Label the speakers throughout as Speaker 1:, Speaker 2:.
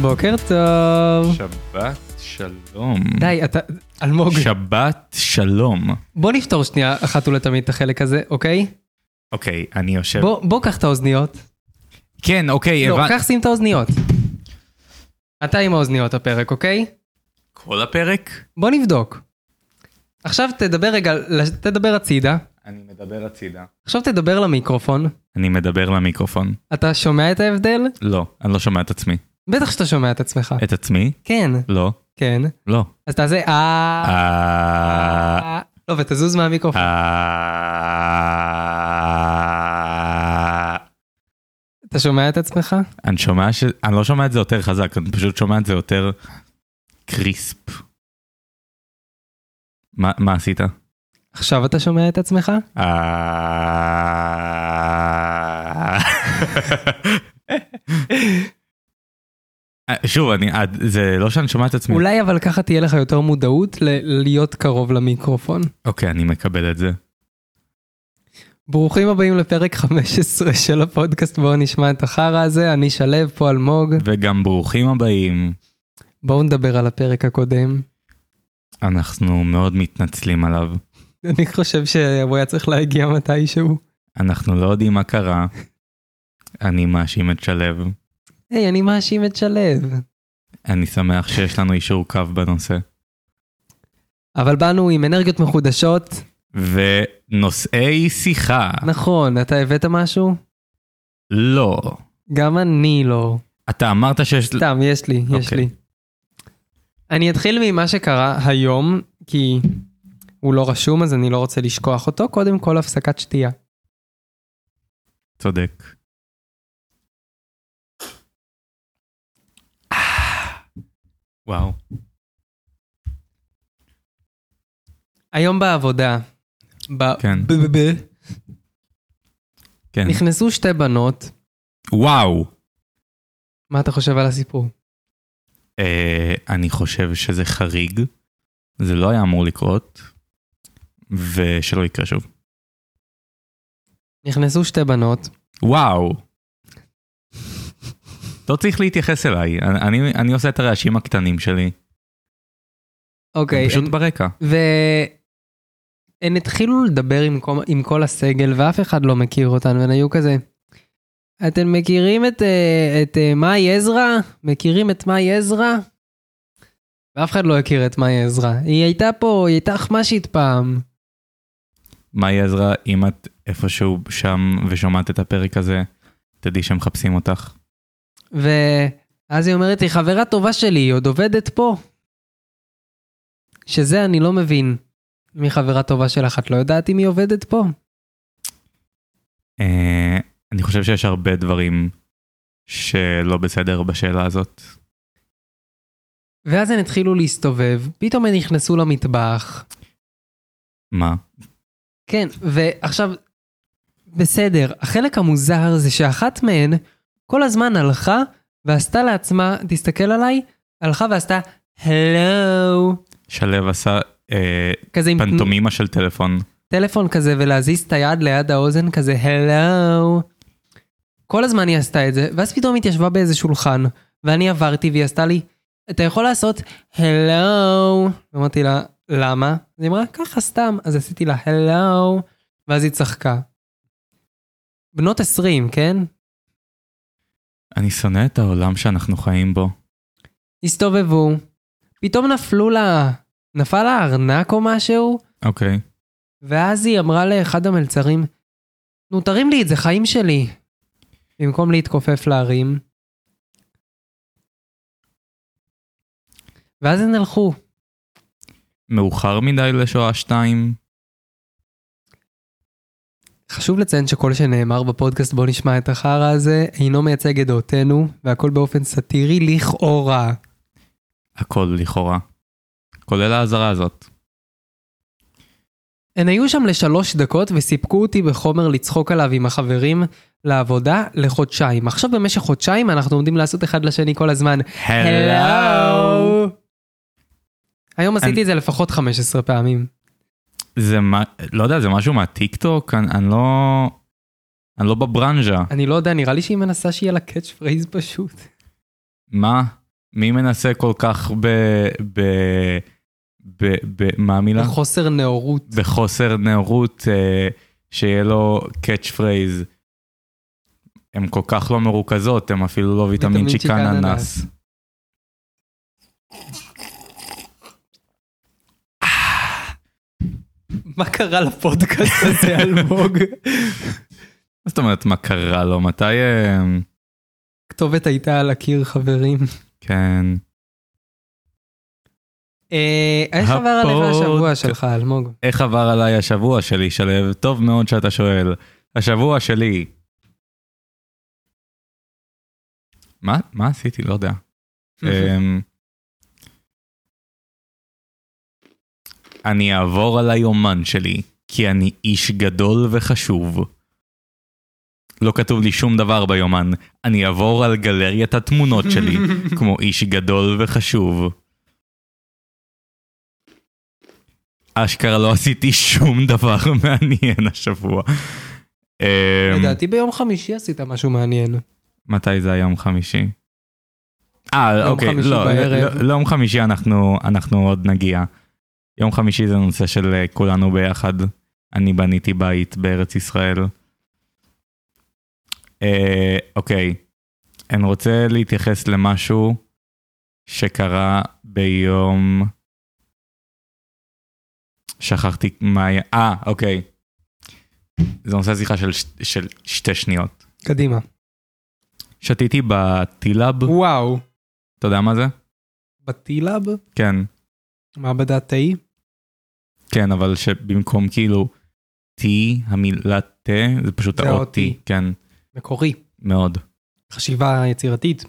Speaker 1: בוקר טוב.
Speaker 2: שבת שלום.
Speaker 1: די, אוקיי. אתה, אלמוג,
Speaker 2: שבת שלום.
Speaker 1: בוא נפתור שנייה אחת ולתמיד את החלק הזה, אוקיי?
Speaker 2: אוקיי, אני יושב.
Speaker 1: בוא, בוא קח את האוזניות.
Speaker 2: כן, אוקיי,
Speaker 1: לא,
Speaker 2: הבנ-
Speaker 1: קח שים את האוזניות. אתה עם האוזניות הפרק, אוקיי?
Speaker 2: כל הפרק?
Speaker 1: בוא נבדוק. עכשיו תדבר רגע, לש- תדבר הצידה,
Speaker 2: אני מדבר הצידה.
Speaker 1: עכשיו תדבר למיקרופון.
Speaker 2: אני מדבר למיקרופון.
Speaker 1: אתה שומע את ההבדל?
Speaker 2: לא, אני לא שומע את עצמי.
Speaker 1: בטח שאתה שומע את עצמך.
Speaker 2: את עצמי?
Speaker 1: כן,
Speaker 2: לא.
Speaker 1: כן.
Speaker 2: לא.
Speaker 1: אז תעשה אה...
Speaker 2: אה...
Speaker 1: אה, לא, ותזוז מהמיקרופון.
Speaker 2: אה...
Speaker 1: אתה שומע את עצמך?
Speaker 2: אני שומע ש... אני לא שומע את זה יותר חזק, אני פשוט שומע את זה יותר קריספ. מה מה עשית?
Speaker 1: עכשיו אתה שומע את עצמך?
Speaker 2: אה. שוב, אני, זה לא שאני שומע את עצמי.
Speaker 1: אולי אבל ככה תהיה לך יותר מודעות ל- להיות קרוב למיקרופון.
Speaker 2: אוקיי, אני מקבל את זה.
Speaker 1: ברוכים הבאים לפרק 15 של הפודקאסט, בואו נשמע את החרא הזה, אני שלו, פה אלמוג.
Speaker 2: וגם ברוכים הבאים.
Speaker 1: בואו נדבר על הפרק הקודם.
Speaker 2: אנחנו מאוד מתנצלים עליו.
Speaker 1: אני חושב שהוא היה צריך להגיע מתישהו.
Speaker 2: אנחנו לא יודעים מה קרה. אני מאשים את שלו.
Speaker 1: היי, אני מאשים את שלו.
Speaker 2: אני שמח שיש לנו אישור קו בנושא.
Speaker 1: אבל באנו עם אנרגיות מחודשות.
Speaker 2: ונושאי שיחה.
Speaker 1: נכון, אתה הבאת משהו?
Speaker 2: לא.
Speaker 1: גם אני לא.
Speaker 2: אתה אמרת שיש...
Speaker 1: סתם, יש לי, יש
Speaker 2: אוקיי.
Speaker 1: לי. אני אתחיל ממה שקרה היום, כי הוא לא רשום, אז אני לא רוצה לשכוח אותו. קודם כל, הפסקת שתייה.
Speaker 2: צודק. וואו.
Speaker 1: היום בעבודה, ב-
Speaker 2: כן.
Speaker 1: ב- ב- ב-
Speaker 2: כן.
Speaker 1: נכנסו שתי בנות,
Speaker 2: וואו.
Speaker 1: מה אתה חושב על הסיפור?
Speaker 2: אה, אני חושב שזה חריג. זה לא היה אמור לקרות. ושלא יקרה שוב.
Speaker 1: נכנסו שתי בנות,
Speaker 2: וואו. לא צריך להתייחס אליי. אני, אני, אני עושה את הרעשים הקטנים שלי.
Speaker 1: אוקיי,
Speaker 2: הם פשוט
Speaker 1: הם-
Speaker 2: ברקע.
Speaker 1: והן התחילו לדבר עם כל, עם כל הסגל ואף אחד לא מכיר אותן, והן היו כזה, אתם מכירים את, אה, את אה, מאי עזרא? מכירים את מאי עזרא? ואף אחד לא הכיר את מאי עזרא. היא הייתה פה, היא הייתה אחמ"שית פעם.
Speaker 2: מאי עזרא, אם את איפשהו שם ושומעת את הפרק הזה, תדעי שמחפשים אותך.
Speaker 1: ואז היא אומרת, היא חברה טובה שלי, היא עוד עובדת פה. שזה אני לא מבין. אם היא חברה טובה שלך, את לא יודעת אם היא עובדת פה?
Speaker 2: אה, אני חושב שיש הרבה דברים שלא בסדר בשאלה הזאת.
Speaker 1: ואז הן התחילו להסתובב, פתאום הן נכנסו למטבח.
Speaker 2: מה?
Speaker 1: כן, ועכשיו, בסדר, החלק המוזר זה שאחת מהן כל הזמן הלכה ועשתה לעצמה, תסתכל עליי, הלכה ועשתה, הלו,
Speaker 2: שלו עשה אה,
Speaker 1: כזה עם תנ-
Speaker 2: פנטומימה של טלפון.
Speaker 1: טלפון כזה ולהזיז את היד ליד האוזן כזה, הלו. כל הזמן היא עשתה את זה, ואז פתאום היא התיישבה באיזה שולחן, ואני עברתי והיא עשתה לי, אתה יכול לעשות הלו. אמרתי לה, למה? אז היא אמרה, ככה סתם. אז עשיתי לה הלו, ואז היא צחקה. בנות 20, כן?
Speaker 2: אני שונא את העולם שאנחנו חיים בו.
Speaker 1: הסתובבו, פתאום נפלו לה, נפל לה ארנק או משהו,
Speaker 2: אוקיי.
Speaker 1: ואז היא אמרה לאחד המלצרים, נו תרים לי את זה, חיים שלי. במקום להתכופף להרים. ואז הן הלכו.
Speaker 2: מאוחר מדי לשואה 2.
Speaker 1: חשוב לציין שכל שנאמר בפודקאסט בוא נשמע את החרא הזה, אינו מייצג את דעותינו, והכל באופן סאטירי לכאורה.
Speaker 2: הכל לכאורה. כולל האזהרה הזאת.
Speaker 1: הן היו שם לשלוש דקות וסיפקו אותי בחומר לצחוק עליו עם החברים לעבודה לחודשיים. עכשיו במשך חודשיים אנחנו עומדים לעשות אחד לשני כל הזמן. הלו. היום עשיתי את זה לפחות 15 פעמים.
Speaker 2: זה מה, לא יודע, זה משהו מהטיקטוק? אני, אני לא... אני לא בברנז'ה.
Speaker 1: אני לא יודע, נראה לי שהיא מנסה שיהיה לה קאץ' פרייז פשוט.
Speaker 2: מה? מי מנסה כל כך ב... ב... ב... ב... מה המילה?
Speaker 1: בחוסר נאורות.
Speaker 2: בחוסר נאורות, אה, שיהיה לו קאץ' פרייז. הן כל כך לא מרוכזות, הן אפילו לא ויטמין
Speaker 1: ויטמין
Speaker 2: צ'יקן
Speaker 1: צ'יקן
Speaker 2: אננס.
Speaker 1: מה קרה לפודקאסט הזה, אלמוג?
Speaker 2: מה זאת אומרת, מה קרה לו? מתי... אה,
Speaker 1: הכתובת הייתה על הקיר, חברים.
Speaker 2: כן.
Speaker 1: אה, איך עבר עליך
Speaker 2: הפודקאסט.
Speaker 1: השבוע שלך, אלמוג?
Speaker 2: איך עבר עליי השבוע שלי, שלו? טוב מאוד שאתה שואל. השבוע שלי... מה, מה עשיתי? לא יודע. אמ, אני אעבור על היומן שלי, כי אני איש גדול וחשוב. לא כתוב לי שום דבר ביומן, אני אעבור על גלריית התמונות שלי, כמו איש גדול וחשוב. אשכרה לא עשיתי שום דבר מעניין השבוע. אמ,
Speaker 1: לדעתי ביום חמישי עשית משהו מעניין.
Speaker 2: מתי זה היה יום חמישי? אה,
Speaker 1: יום
Speaker 2: אוקיי,
Speaker 1: חמישי
Speaker 2: לא,
Speaker 1: בערב.
Speaker 2: לא, לא יום חמישי אנחנו, אנחנו עוד נגיע. יום חמישי זה נושא של אה, כולנו ביחד. אני בניתי בית בארץ ישראל. אה, אוקיי, אני רוצה להתייחס למשהו שקרה ביום... שכחתי מה היה... אה, אוקיי. זה נושא שיחה של, ש- של שתי שניות.
Speaker 1: קדימה.
Speaker 2: שתיתי בטילאב,
Speaker 1: וואו.
Speaker 2: אתה יודע מה זה?
Speaker 1: בטילאב?
Speaker 2: כן,
Speaker 1: מעבדת תאי?
Speaker 2: כן, אבל שבמקום כאילו T, המילה T, זה פשוט
Speaker 1: זה
Speaker 2: האות
Speaker 1: האות
Speaker 2: T,
Speaker 1: T.
Speaker 2: כן,
Speaker 1: מקורי.
Speaker 2: מאוד.
Speaker 1: חשיבה יצירתית.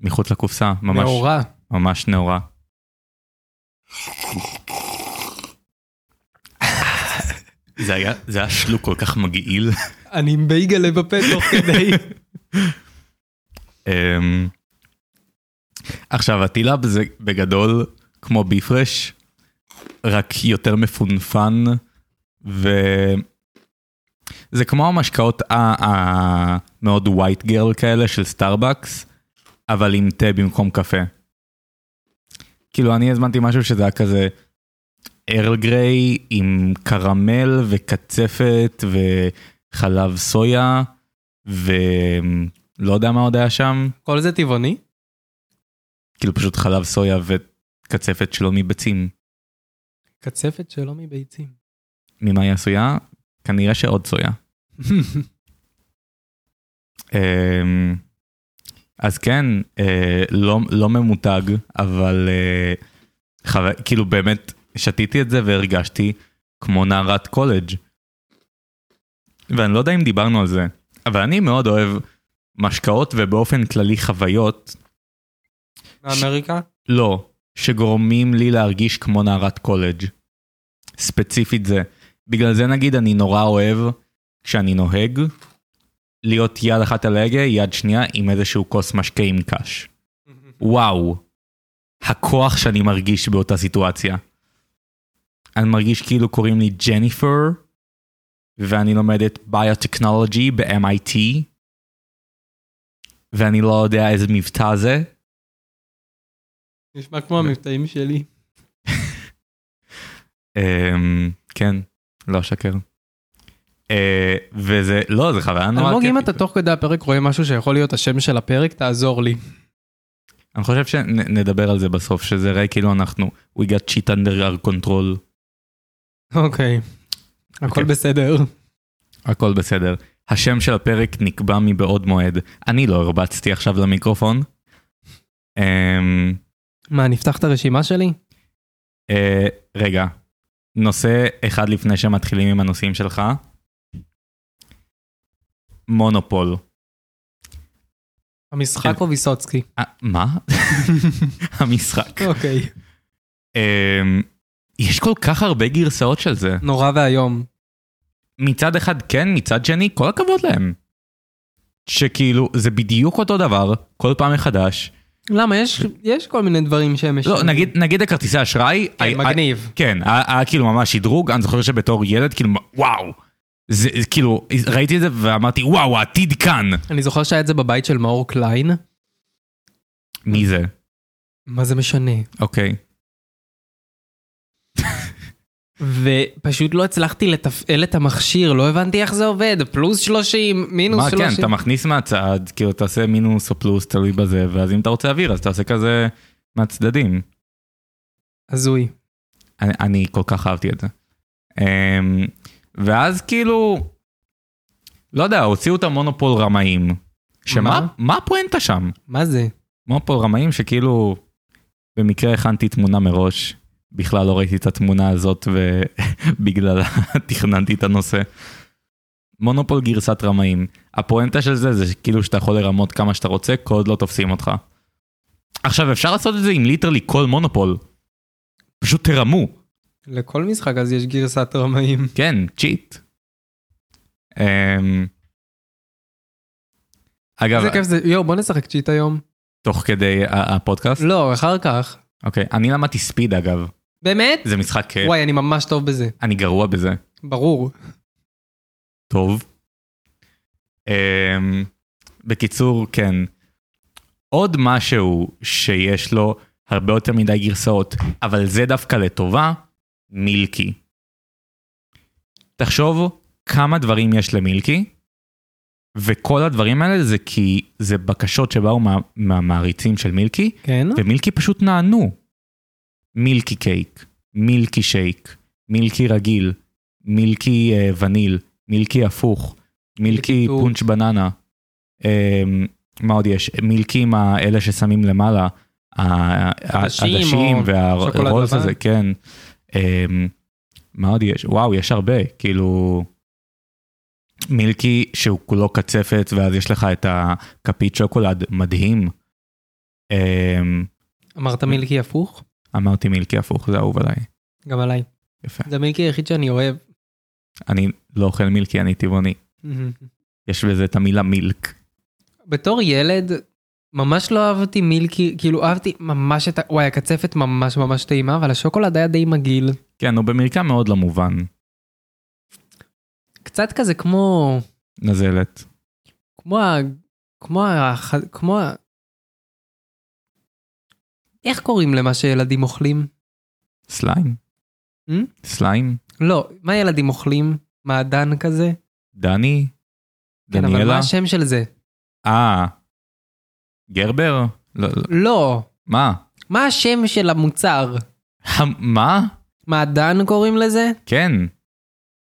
Speaker 2: מחוץ לקופסה, ממש,
Speaker 1: נאורה.
Speaker 2: ממש נאורה. זה היה, זה היה שלוק כל כך מגעיל.
Speaker 1: אני עם בייגלה בפה תוך כדי.
Speaker 2: אמ, עכשיו, הטילאב זה בגדול כמו ביפרש, רק יותר מפונפן, וזה כמו המשקאות המאוד ווייט גרל כאלה של סטארבקס, אבל עם תה במקום קפה. כאילו, אני הזמנתי משהו שזה היה כזה ארל גריי עם קרמל וקצפת וחלב סויה, ולא לא יודע מה עוד היה שם.
Speaker 1: כל זה טבעוני?
Speaker 2: כאילו פשוט חלב סויה וקצפת שלא מביצים.
Speaker 1: קצפת שלא מביצים.
Speaker 2: ממה היא עשויה? כנראה שעוד סויה. אמ, אז כן, אה, לא, לא ממותג, אבל אה, חו... כאילו באמת שתיתי את זה והרגשתי כמו נערת קולג'. ואני לא יודע אם דיברנו על זה, אבל אני מאוד אוהב משקאות ובאופן כללי חוויות,
Speaker 1: מאמריקה?
Speaker 2: לא, שגורמים לי להרגיש כמו נערת קולג'. ספציפית זה. בגלל זה נגיד אני נורא אוהב, כשאני נוהג, להיות יד אחת על ההגה, יד שנייה עם איזשהו כוס משקה עם קש. וואו, הכוח שאני מרגיש באותה סיטואציה. אני מרגיש כאילו קוראים לי ג'ניפר, ואני לומדת ביוטכנולוגי ב-MIT, ואני לא יודע איזה מבטא זה.
Speaker 1: נשמע כמו המבטאים שלי.
Speaker 2: אמ, כן, לא אשקר. אה, וזה, לא, זה חוויה נורא
Speaker 1: אלמוג, אם
Speaker 2: כיפית.
Speaker 1: אתה תוך כדי הפרק רואה משהו שיכול להיות השם של הפרק, תעזור לי.
Speaker 2: אני חושב שנדבר על זה בסוף, שזה ראה כאילו אנחנו, we got shit under our control,
Speaker 1: אוקיי. הכל
Speaker 2: אוקיי.
Speaker 1: בסדר.
Speaker 2: הכל בסדר. השם של הפרק נקבע מבעוד מועד. אני לא הרבצתי עכשיו למיקרופון. אמ,
Speaker 1: מה, נפתח את הרשימה שלי?
Speaker 2: אה, רגע, נושא אחד לפני שמתחילים עם הנושאים שלך. מונופול.
Speaker 1: המשחק או ויסוצקי?
Speaker 2: אה, מה? המשחק.
Speaker 1: אוקיי.
Speaker 2: אמ, יש כל כך הרבה גרסאות של זה.
Speaker 1: נורא ואיום.
Speaker 2: מצד אחד כן, מצד שני, כל הכבוד להם. שכאילו, זה בדיוק אותו דבר, כל פעם מחדש.
Speaker 1: למה? יש- יש כל מיני דברים שהם
Speaker 2: לא,
Speaker 1: משנים.
Speaker 2: נגיד, נגיד הכרטיסי אשראי,
Speaker 1: כן,
Speaker 2: ה-
Speaker 1: מגניב.
Speaker 2: כן, היה היה כאילו ממש שדרוג, אני זוכר שבתור ילד, כאילו, וואו. זה זה כאילו, ראיתי את זה ואמרתי, וואו, העתיד כאן.
Speaker 1: אני זוכר שהיה את זה בבית של מאור קליין.
Speaker 2: מי זה?
Speaker 1: מה זה משנה?
Speaker 2: אוקיי.
Speaker 1: ופשוט לא הצלחתי לתפעל את המכשיר, לא הבנתי איך זה עובד, פלוס 30, מינוס
Speaker 2: מה
Speaker 1: 30.
Speaker 2: כן, אתה מכניס מהצד, כאילו תעשה מינוס או פלוס, תלוי בזה, ואז אם אתה רוצה אוויר, אז תעשה כזה מהצדדים.
Speaker 1: הזוי.
Speaker 2: אני, אני כל כך אהבתי את זה. אמ, ואז כאילו, לא יודע, הוציאו את המונופול רמאים.
Speaker 1: מה?
Speaker 2: שמה מה הפואנטה שם?
Speaker 1: מה זה?
Speaker 2: מונופול רמאים שכאילו, במקרה הכנתי תמונה מראש, בכלל לא ראיתי את התמונה הזאת ובגללה תכננתי את הנושא. מונופול גרסת רמאים. הפואנטה של זה זה כאילו שאתה יכול לרמות כמה שאתה רוצה, כל עוד לא תופסים אותך. עכשיו אפשר לעשות את זה עם ליטרלי כל מונופול. פשוט תרמו.
Speaker 1: לכל משחק אז יש גרסת רמאים.
Speaker 2: כן, צ'יט. אמ, אגב,
Speaker 1: איזה כיף זה, יואו, בוא נשחק צ'יט היום.
Speaker 2: תוך כדי ה- הפודקאסט,
Speaker 1: לא, אחר כך.
Speaker 2: אוקיי, אני למדתי ספיד אגב,
Speaker 1: באמת?
Speaker 2: זה משחק כיף,
Speaker 1: וואי, אני ממש טוב בזה.
Speaker 2: אני גרוע בזה.
Speaker 1: ברור.
Speaker 2: טוב. אמ, בקיצור, כן. עוד משהו שיש לו הרבה יותר מדי גרסאות, אבל זה דווקא לטובה, מילקי. תחשוב כמה דברים יש למילקי, וכל הדברים האלה זה כי זה בקשות שבאו מה, מהמעריצים של מילקי,
Speaker 1: כן?
Speaker 2: ומילקי פשוט נענו. מילקי קייק, מילקי שייק, מילקי רגיל, מילקי אה, וניל, מילקי הפוך,
Speaker 1: מילקי
Speaker 2: מילקי
Speaker 1: טור.
Speaker 2: פונץ' בננה. אה, מה עוד יש? מילקי עם האלה ששמים למעלה, ה-
Speaker 1: עדשים
Speaker 2: העדשים
Speaker 1: או שוקולד
Speaker 2: והרולס
Speaker 1: לבן.
Speaker 2: הזה, כן. אה, מה עוד יש? וואו, יש הרבה, כאילו... מילקי שהוא כולו קצפת ואז יש לך את הכפית שוקולד מדהים. אה,
Speaker 1: אמרת מילקי הפוך?
Speaker 2: אמרתי מילקי הפוך, זה אהוב עליי.
Speaker 1: גם עליי.
Speaker 2: יפה.
Speaker 1: זה המילקי היחיד שאני אוהב.
Speaker 2: אני לא אוכל מילקי, אני טבעוני. יש בזה את המילה מילק.
Speaker 1: בתור ילד, ממש לא אהבתי מילקי, כאילו אהבתי ממש את ה... וואי, הקצפת ממש ממש טעימה, אבל השוקולד היה די מגעיל.
Speaker 2: כן, הוא במרקם מאוד לא מובן.
Speaker 1: קצת כזה כמו...
Speaker 2: נזלת.
Speaker 1: כמו ה... כמו ה... כמו ה... איך קוראים למה שילדים אוכלים?
Speaker 2: סליים.
Speaker 1: Hmm?
Speaker 2: סליים.
Speaker 1: לא, מה ילדים אוכלים? מעדן כזה?
Speaker 2: דני.
Speaker 1: כן, אבל מה
Speaker 2: דניאלה.
Speaker 1: השם של זה?
Speaker 2: אה. גרבר? לא, לא.
Speaker 1: לא.
Speaker 2: מה?
Speaker 1: מה השם של המוצר?
Speaker 2: המ- מה?
Speaker 1: מעדן קוראים לזה?
Speaker 2: כן.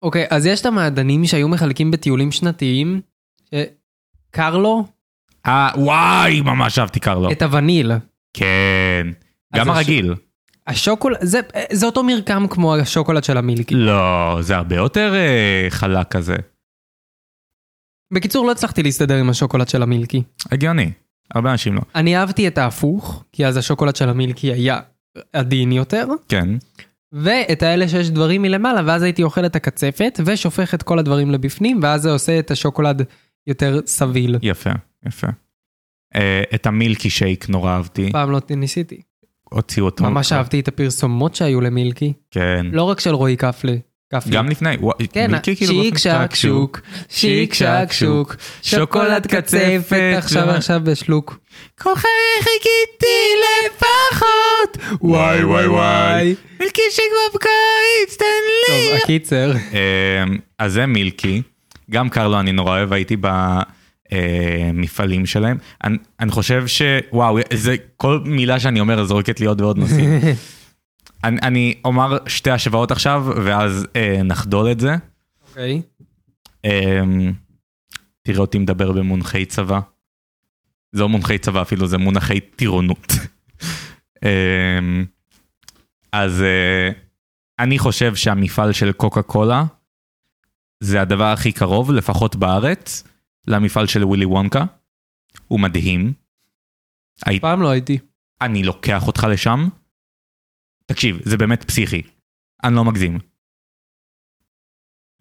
Speaker 1: אוקיי, אז יש את המעדנים שהיו מחלקים בטיולים שנתיים, שקר לו
Speaker 2: אה, וואי, ממש אהבתי קרלו.
Speaker 1: את הווניל.
Speaker 2: כן. גם
Speaker 1: הש-
Speaker 2: הרגיל.
Speaker 1: השוקולד, זה, זה אותו מרקם כמו השוקולד של המילקי.
Speaker 2: לא, זה הרבה יותר אה, חלק כזה.
Speaker 1: בקיצור, לא הצלחתי להסתדר עם השוקולד של המילקי.
Speaker 2: הגיוני. הרבה אנשים לא.
Speaker 1: אני אהבתי את ההפוך, כי אז השוקולד של המילקי היה עדין יותר,
Speaker 2: כן.
Speaker 1: ואת האלה שיש דברים מלמעלה, ואז הייתי אוכל את הקצפת, ושופך את כל הדברים לבפנים, ואז זה עושה את השוקולד יותר סביל.
Speaker 2: יפה, יפה. אה, את המילקי שייק נורא אהבתי,
Speaker 1: פעם לא ניסיתי.
Speaker 2: הוציאו אותו.
Speaker 1: ממש אהבתי את הפרסומות שהיו למילקי,
Speaker 2: כן.
Speaker 1: לא רק של רועי קפלי. קפלי.
Speaker 2: גם לפני, וואי,
Speaker 1: כן,
Speaker 2: מילקי כאילו
Speaker 1: שיק
Speaker 2: באופן
Speaker 1: שק
Speaker 2: קשקשוק.
Speaker 1: שוק, שיק שק שוק, שוקולד קצפת, עכשיו עכשיו בשלוק.
Speaker 2: כל חיי חיכיתי לפחות. וואי וואי וואי. מילקי שייק בקיץ, תן
Speaker 1: טוב, הקיצר,
Speaker 2: לי. אמ, אז זה מילקי. גם קרלו אני נורא אוהב, הייתי במפעלים שלהם. אני- אני חושב ש... וואו, זה כל מילה שאני אומר זורקת לי עוד ועוד נושאים. אני, אני אומר שתי השוואות עכשיו, ואז אה, נחדול את זה.
Speaker 1: אוקיי.
Speaker 2: אה, תראה אותי מדבר במונחי צבא. זה לא מונחי צבא אפילו, זה מונחי טירונות. אה, אז אה, אני חושב שהמפעל של קוקה קולה זה הדבר הכי קרוב, לפחות בארץ, למפעל של ווילי וונקה. הוא מדהים. היית-
Speaker 1: פעם לא הייתי.
Speaker 2: אני לוקח אותך לשם. תקשיב, זה באמת פסיכי. אני לא מגזים.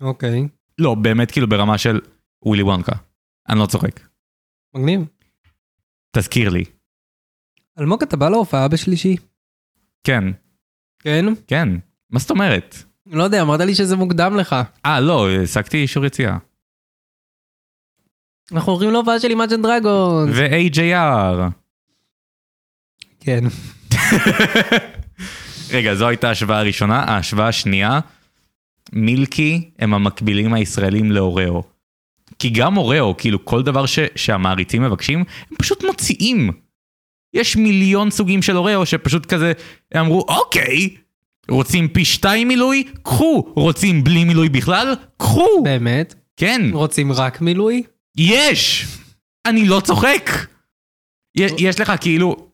Speaker 1: אוקיי.
Speaker 2: לא, באמת כאילו ברמה של ווילי וונקה. אני לא צוחק.
Speaker 1: מגניב.
Speaker 2: תזכיר לי.
Speaker 1: אלמוג, אתה בא להופעה בשלישי?
Speaker 2: כן,
Speaker 1: כן.
Speaker 2: כן. מה זאת אומרת?
Speaker 1: לא יודע, אמרת לי שזה מוקדם לך.
Speaker 2: אה, לא, השגתי אישור יציאה.
Speaker 1: אנחנו הולכים להופעה של אימג'ן דרגון.
Speaker 2: ו-AJR.
Speaker 1: כן.
Speaker 2: רגע, זו הייתה ההשוואה הראשונה. אה, ההשוואה השנייה, מילקי הם המקבילים הישראלים לאוראו. כי גם אוראו, כאילו כל דבר ש, שהמעריצים מבקשים, הם פשוט מוציאים. יש מיליון סוגים של אוראו שפשוט כזה, הם אמרו, אוקיי, רוצים פי שתיים מילוי? קחו. רוצים בלי מילוי בכלל? קחו.
Speaker 1: באמת?
Speaker 2: כן,
Speaker 1: רוצים רק מילוי?
Speaker 2: יש! אני לא צוחק! יש, יש לך כאילו,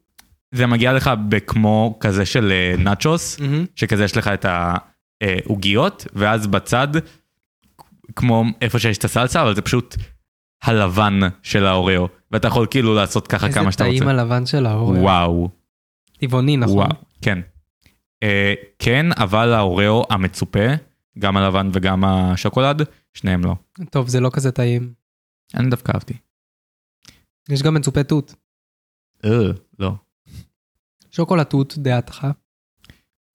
Speaker 2: זה מגיע לך בכמו כזה של אה, נאצ'וס,
Speaker 1: מהמם.
Speaker 2: שכזה יש לך את העוגיות, ואז בצד, כמו איפה שיש את הסלסה, אבל זה פשוט הלבן של האוריו. ואתה יכול כאילו לעשות ככה
Speaker 1: איזה
Speaker 2: כמה שאתה רוצה.
Speaker 1: טעים הלבן של האורל.
Speaker 2: וואו,
Speaker 1: טבעוני, נכון?
Speaker 2: וואו, כן. אה, כן, אבל האוריו המצופה, גם הלבן וגם השוקולד, שניהם לא.
Speaker 1: טוב, זה לא כזה טעים.
Speaker 2: אני דווקא אהבתי.
Speaker 1: יש גם מצופה תות.
Speaker 2: אה, לא.
Speaker 1: שוקולד תות, דעתך.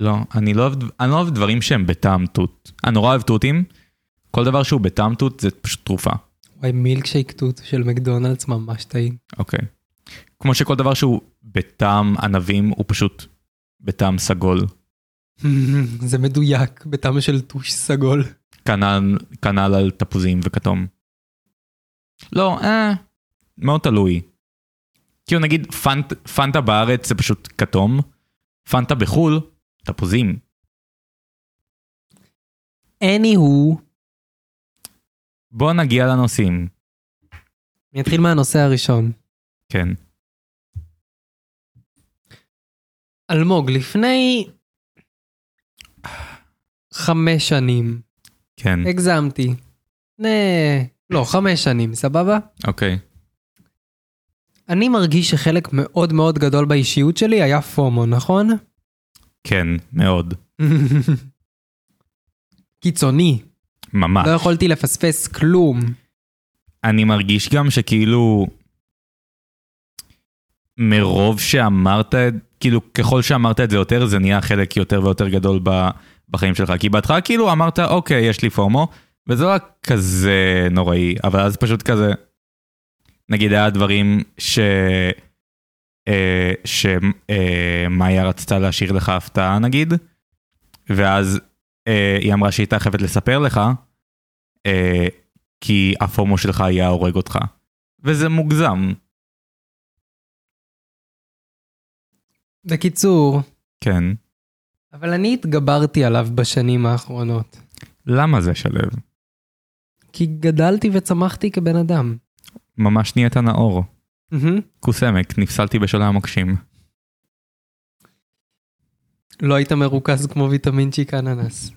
Speaker 2: לא, אני לא אוהב, אני לא אוהב דברים שהם בטעם תות. אני נורא אוהב תותים. כל דבר שהוא בטעם תות זה פשוט תרופה.
Speaker 1: וואי, מילקשייק תות של מקדונלדס ממש טעים.
Speaker 2: אוקיי. כמו שכל דבר שהוא בטעם ענבים הוא פשוט בטעם סגול.
Speaker 1: זה מדויק, בטעם של טוש סגול.
Speaker 2: כנ"ל כנ"ל על תפוזים וכתום. לא, אה, מאוד תלוי. כאילו נגיד פנט, פנטה בארץ זה פשוט כתום, פנטה בחו"ל, תפוזים.
Speaker 1: anyhu,
Speaker 2: בוא נגיע לנושאים.
Speaker 1: אני אתחיל מהנושא הראשון.
Speaker 2: כן.
Speaker 1: אלמוג, לפני חמש שנים,
Speaker 2: כן,
Speaker 1: אה. הגזמתי. נה... לא, חמש שנים, סבבה?
Speaker 2: אוקיי.
Speaker 1: אני מרגיש שחלק מאוד מאוד גדול באישיות שלי היה פומו, נכון?
Speaker 2: כן, מאוד.
Speaker 1: קיצוני,
Speaker 2: ממש.
Speaker 1: לא יכולתי לפספס כלום.
Speaker 2: אני מרגיש גם שכאילו, מרוב שאמרת, את- כאילו ככל שאמרת את זה יותר, זה נהיה חלק יותר ויותר גדול ב- בחיים שלך. כי בהתחלה כאילו אמרת, אוקיי, יש לי פומו, וזה לא היה כזה נוראי, אבל אז פשוט כזה, נגיד היה דברים ש... אה, שמאיה רצתה להשאיר לך הפתעה נגיד, ואז אה, היא אמרה שהיא הייתה חייבת לספר לך, אה, כי הפומו שלך היה הורג אותך. וזה מוגזם.
Speaker 1: בקיצור,
Speaker 2: כן.
Speaker 1: אבל אני התגברתי עליו בשנים האחרונות.
Speaker 2: למה זה שלו?
Speaker 1: כי גדלתי וצמחתי כבן אדם.
Speaker 2: ממש נהיית נאור.
Speaker 1: מהמם.
Speaker 2: כוס עמק, נפסלתי בשולי המוקשים.
Speaker 1: לא היית מרוכז כמו ויטמין צ'יק אננס.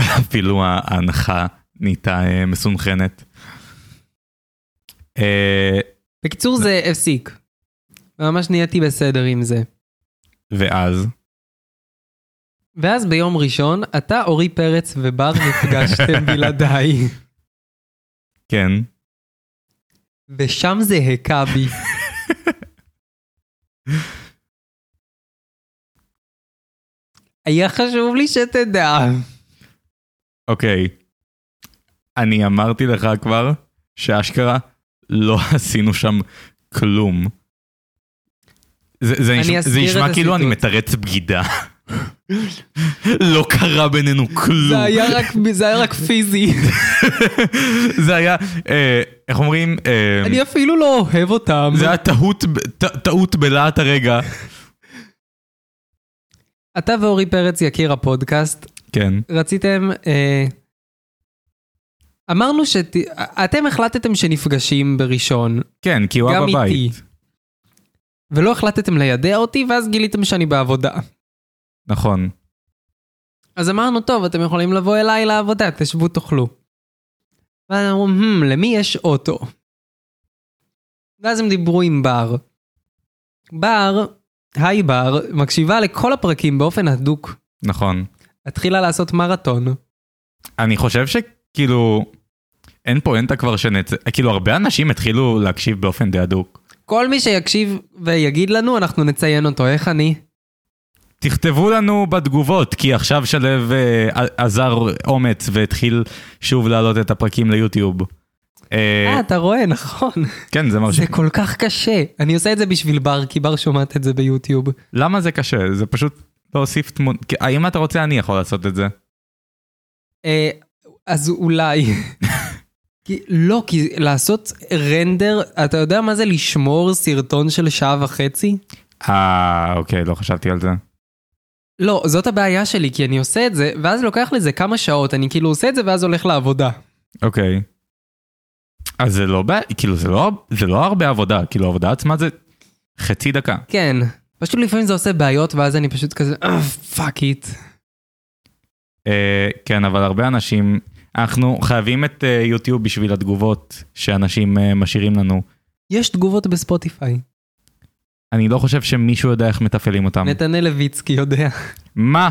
Speaker 2: אפילו ההנחה נהייתה אה, מסונכרנת. אה,
Speaker 1: בקיצור זה הפסיק. ממש נהייתי בסדר עם זה.
Speaker 2: ואז?
Speaker 1: ואז ביום ראשון, אתה, אורי פרץ ובר נפגשתם בלעדיי,
Speaker 2: כן.
Speaker 1: ושם זה הכה בי. היה חשוב לי שתדע.
Speaker 2: אוקיי. אני אמרתי לך כבר שאשכרה לא עשינו שם כלום. זה, זה,
Speaker 1: אני
Speaker 2: נשמע, זה
Speaker 1: אסביר את
Speaker 2: נשמע כאילו אני
Speaker 1: הסיטואציה.
Speaker 2: מתרץ בגידה. לא קרה בינינו כלום.
Speaker 1: זה היה רק, זה היה רק פיזי.
Speaker 2: זה היה, אה, איך אומרים? אה,
Speaker 1: אני אפילו לא אוהב אותם.
Speaker 2: זה היה טעות, ב- ט- טעות בלהט הרגע.
Speaker 1: אתה ואורי פרץ, יקיר הפודקאסט,
Speaker 2: כן,
Speaker 1: רציתם... אה, אמרנו שת... אתם החלטתם שנפגשים בראשון,
Speaker 2: כן, כי הוא היה
Speaker 1: גם איתי.
Speaker 2: בבית.
Speaker 1: ולא החלטתם לידע אותי, ואז גיליתם שאני בעבודה.
Speaker 2: נכון,
Speaker 1: אז אמרנו, טוב, אתם יכולים לבוא אליי לעבודה, תשבו, תאכלו. ואז אמרו, hmm, למי יש אוטו? ואז הם דיברו עם בר. בר, היי בר, מקשיבה לכל הפרקים באופן הדוק.
Speaker 2: נכון.
Speaker 1: התחילה לעשות מרתון.
Speaker 2: אני חושב שכאילו, אין פואנטה כבר שנצא, כאילו הרבה אנשים התחילו להקשיב באופן די הדוק.
Speaker 1: כל מי שיקשיב ויגיד לנו, אנחנו נציין אותו. איך אני?
Speaker 2: תכתבו לנו בתגובות, כי עכשיו שלו אה, עזר אומץ והתחיל שוב להעלות את הפרקים ליוטיוב. אה,
Speaker 1: אה, אתה רואה, נכון.
Speaker 2: כן, זה מרשים.
Speaker 1: זה כל כך קשה. אני עושה את זה בשביל בר, כי בר שומעת את זה ביוטיוב.
Speaker 2: למה זה קשה? זה פשוט להוסיף תמונה. האם אתה רוצה, אני יכול לעשות את זה.
Speaker 1: אה, אז אולי. כי, לא, כי לעשות רנדר, אתה יודע מה זה לשמור סרטון של שעה וחצי?
Speaker 2: אה, אוקיי, לא חשבתי על זה.
Speaker 1: לא, זאת הבעיה שלי, כי אני עושה את זה, ואז לוקח לזה כמה שעות, אני כאילו עושה את זה ואז הולך לעבודה.
Speaker 2: אוקיי. אז זה לא, בע- כאילו, זה לא, זה לא הרבה עבודה, כאילו, העבודה עצמה זה חצי דקה.
Speaker 1: כן. פשוט לפעמים זה עושה בעיות, ואז אני פשוט כזה, פאק איט.
Speaker 2: אה, כן, אבל הרבה אנשים, אנחנו חייבים את אה, יוטיוב בשביל התגובות שאנשים אה, משאירים לנו.
Speaker 1: יש תגובות בספוטיפיי.
Speaker 2: אני לא חושב שמישהו יודע איך מתפעלים אותם.
Speaker 1: נתנאל לויצקי יודע.
Speaker 2: מה?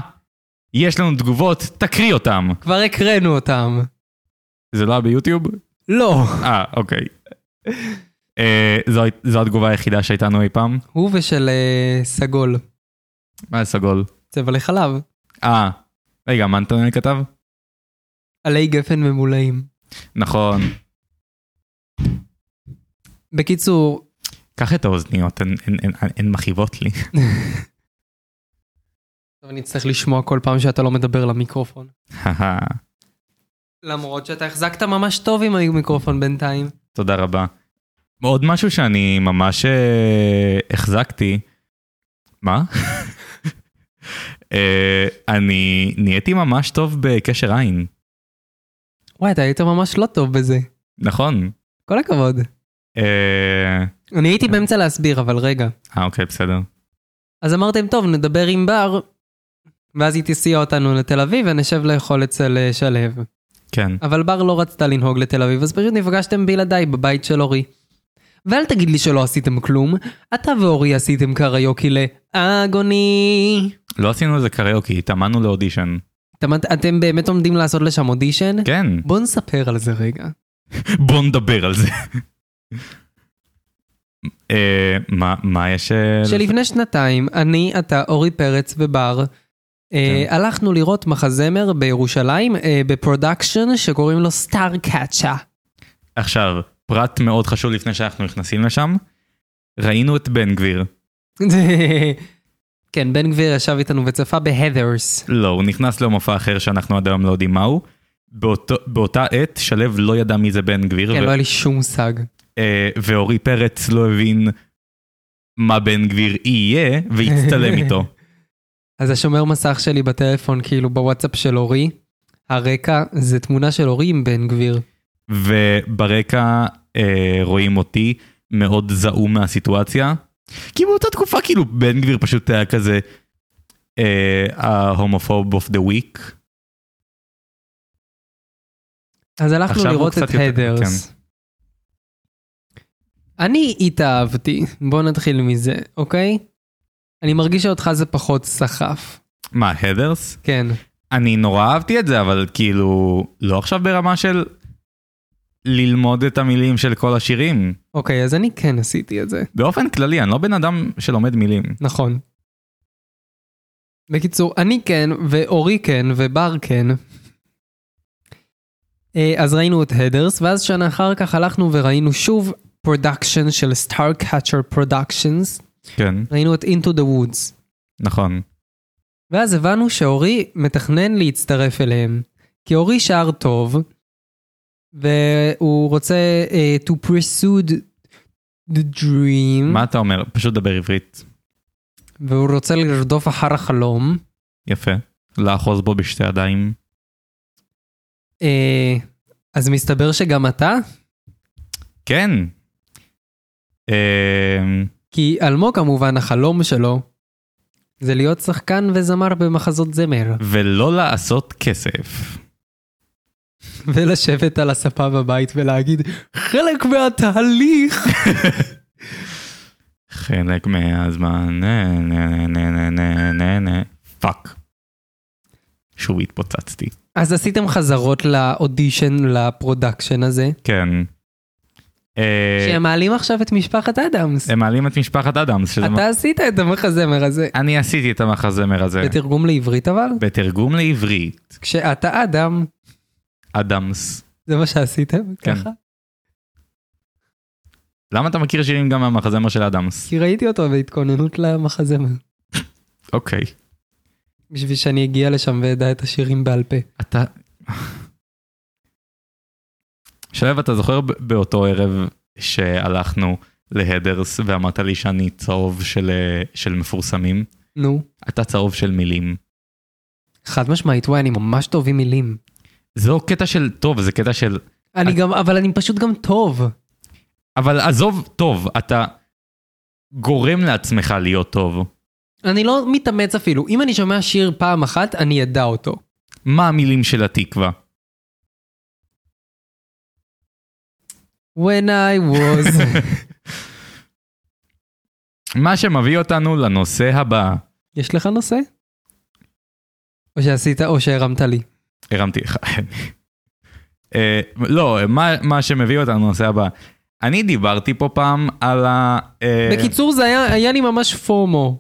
Speaker 2: יש לנו תגובות, תקריא אותם.
Speaker 1: כבר הקראנו אותם.
Speaker 2: זה לא היה ביוטיוב?
Speaker 1: לא.
Speaker 2: אה, אוקיי. אה, זו, זו התגובה היחידה שהייתה לנו אי פעם.
Speaker 1: הוא ושל אה, סגול,
Speaker 2: מה סגול?
Speaker 1: צבע לחלב,
Speaker 2: אה, רגע, מה נתנאל כתב?
Speaker 1: עלי גפן ממולאים.
Speaker 2: נכון.
Speaker 1: בקיצור,
Speaker 2: קח את האוזניות, הן- הן- הן- הן מכאיבות לי.
Speaker 1: טוב, אני אצטרך לשמוע כל פעם שאתה לא מדבר למיקרופון. למרות שאתה החזקת ממש טוב עם המיקרופון בינתיים.
Speaker 2: תודה רבה. עוד משהו שאני ממש אה, החזקתי, מה? אה, אני נהייתי ממש טוב בקשר עין,
Speaker 1: וואי, אתה היית ממש לא טוב בזה.
Speaker 2: נכון.
Speaker 1: כל הכבוד.
Speaker 2: אה,
Speaker 1: אני הייתי באמצע להסביר, אבל רגע.
Speaker 2: אה, אוקיי, בסדר.
Speaker 1: אז אמרתם, טוב, נדבר עם בר, ואז היא תסיע אותנו לתל אביב ונשב לאכול אצל אה, שלו.
Speaker 2: כן.
Speaker 1: אבל בר לא רצתה לנהוג לתל אביב, אז פשוט נפגשתם בלעדיי בבית של אורי. ואל תגיד לי שלא עשיתם כלום, אתה ואורי עשיתם קריוקי לאגוני.
Speaker 2: לא עשינו איזה קריוקי, התאמנו לאודישן.
Speaker 1: אתם, אתם באמת עומדים לעשות לשם אודישן?
Speaker 2: כן,
Speaker 1: בוא נספר על זה רגע.
Speaker 2: בוא נדבר על זה. אה, מה- מה יש... אה,
Speaker 1: שלפני שנתיים, אני, אתה, אורי פרץ ובר, אה, הלכנו לראות מחזמר בירושלים, אה, בפרודקשן שקוראים לו סטאר קאצ'ה.
Speaker 2: עכשיו, פרט מאוד חשוב לפני שאנחנו נכנסים לשם, ראינו את בן גביר.
Speaker 1: כן, בן גביר ישב איתנו וצפה בהדרס.
Speaker 2: לא, הוא נכנס למופע אחר שאנחנו עד היום לא יודעים מהו. באותו, באותה עת שלו לא ידע מי זה בן גביר,
Speaker 1: כן,
Speaker 2: ו-
Speaker 1: לא היה לי שום מושג.
Speaker 2: אה, ואורי פרץ לא הבין מה בן גביר יהיה, והצטלם איתו.
Speaker 1: אז השומר מסך שלי בטלפון, כאילו בוואטסאפ של אורי, הרקע זה תמונה של אורי עם בן גביר.
Speaker 2: וברקע אה, רואים אותי מאוד זעום מהסיטואציה. כי באותה תקופה כאילו בן גביר פשוט היה כזה אה, ההומופוב אוף דה וויק.
Speaker 1: אז הלכנו
Speaker 2: עכשיו הוא
Speaker 1: לראות
Speaker 2: קצת
Speaker 1: את
Speaker 2: יותר-
Speaker 1: הדרס. אני התאהבתי, בוא נתחיל מזה, אוקיי? אני מרגיש שאותך זה פחות סחף.
Speaker 2: מה, הדרס?
Speaker 1: כן.
Speaker 2: אני נורא אהבתי את זה, אבל כאילו, לא עכשיו ברמה של ללמוד את המילים של כל השירים.
Speaker 1: אוקיי, אז אני כן עשיתי את זה,
Speaker 2: באופן כללי, אני לא בן אדם שלומד מילים.
Speaker 1: נכון. בקיצור, אני כן, ואורי כן, ובר כן. אה, אז ראינו את הדרס, ואז שנה אחר כך הלכנו וראינו שוב פרודקשן של סטאר קאצ'ר פרודקשנס,
Speaker 2: כן,
Speaker 1: ראינו את אינטו דה וודס.
Speaker 2: נכון.
Speaker 1: ואז הבנו שאורי מתכנן להצטרף אליהם. כי אורי שר טוב, והוא רוצה uh, to pursue the- the dream,
Speaker 2: מה אתה אומר? פשוט דבר עברית.
Speaker 1: והוא רוצה לרדוף אחר החלום.
Speaker 2: יפה. לאחוז בו בשתי ידיים.
Speaker 1: Uh, אז מסתבר שגם אתה?
Speaker 2: כן. אמ,
Speaker 1: כי אלמו כמובן החלום שלו זה להיות שחקן וזמר במחזות זמר,
Speaker 2: ולא לעשות כסף.
Speaker 1: ולשבת על הספה בבית ולהגיד חלק מהתהליך.
Speaker 2: חלק מהזמן, נה נה נה נה נה נה נה. פאק. שוב התפוצצתי.
Speaker 1: אז עשיתם חזרות לאודישן, לפרודקשן הזה.
Speaker 2: כן. אה,
Speaker 1: שהם מעלים עכשיו את משפחת אדמס.
Speaker 2: הם מעלים את משפחת אדמס. שזה
Speaker 1: אתה עשית את המחזמר הזה.
Speaker 2: מה- אני עשיתי את המחזמר הזה.
Speaker 1: בתרגום לעברית אבל?
Speaker 2: בתרגום לעברית,
Speaker 1: כשאתה אדם,
Speaker 2: אדמס.
Speaker 1: זה מה שעשיתם?
Speaker 2: כן.
Speaker 1: ככה?
Speaker 2: למה אתה מכיר שירים גם מהמחזמר של אדמס?
Speaker 1: כי ראיתי אותו בהתכוננות למחזמר.
Speaker 2: אוקיי.
Speaker 1: בשביל שאני אגיע לשם ואדע את השירים בעל פה.
Speaker 2: אתה... שלו, אתה זוכר ב- באותו ערב שהלכנו להדרס ואמרת לי שאני צהוב של, אה, של מפורסמים?
Speaker 1: נו.
Speaker 2: אתה צהוב של מילים.
Speaker 1: חד משמעית, וואי, אני ממש טוב עם מילים.
Speaker 2: זהו קטע של טוב, זה קטע של...
Speaker 1: אני גם, אבל אני פשוט גם טוב.
Speaker 2: אבל עזוב טוב, אתה גורם לעצמך להיות טוב.
Speaker 1: אני לא מתאמץ אפילו. אם אני שומע שיר פעם אחת, אני אדע אותו.
Speaker 2: מה המילים של התקווה?
Speaker 1: When I was...
Speaker 2: מה שמביא אותנו לנושא הבא.
Speaker 1: יש לך נושא? או שעשית, או שהרמת לי.
Speaker 2: הרמתי לך. אה, לא, מה, מה שמביא אותנו לנושא הבא. אני דיברתי פה פעם על ה... אה,
Speaker 1: בקיצור, זה היה, היה לי ממש פומו.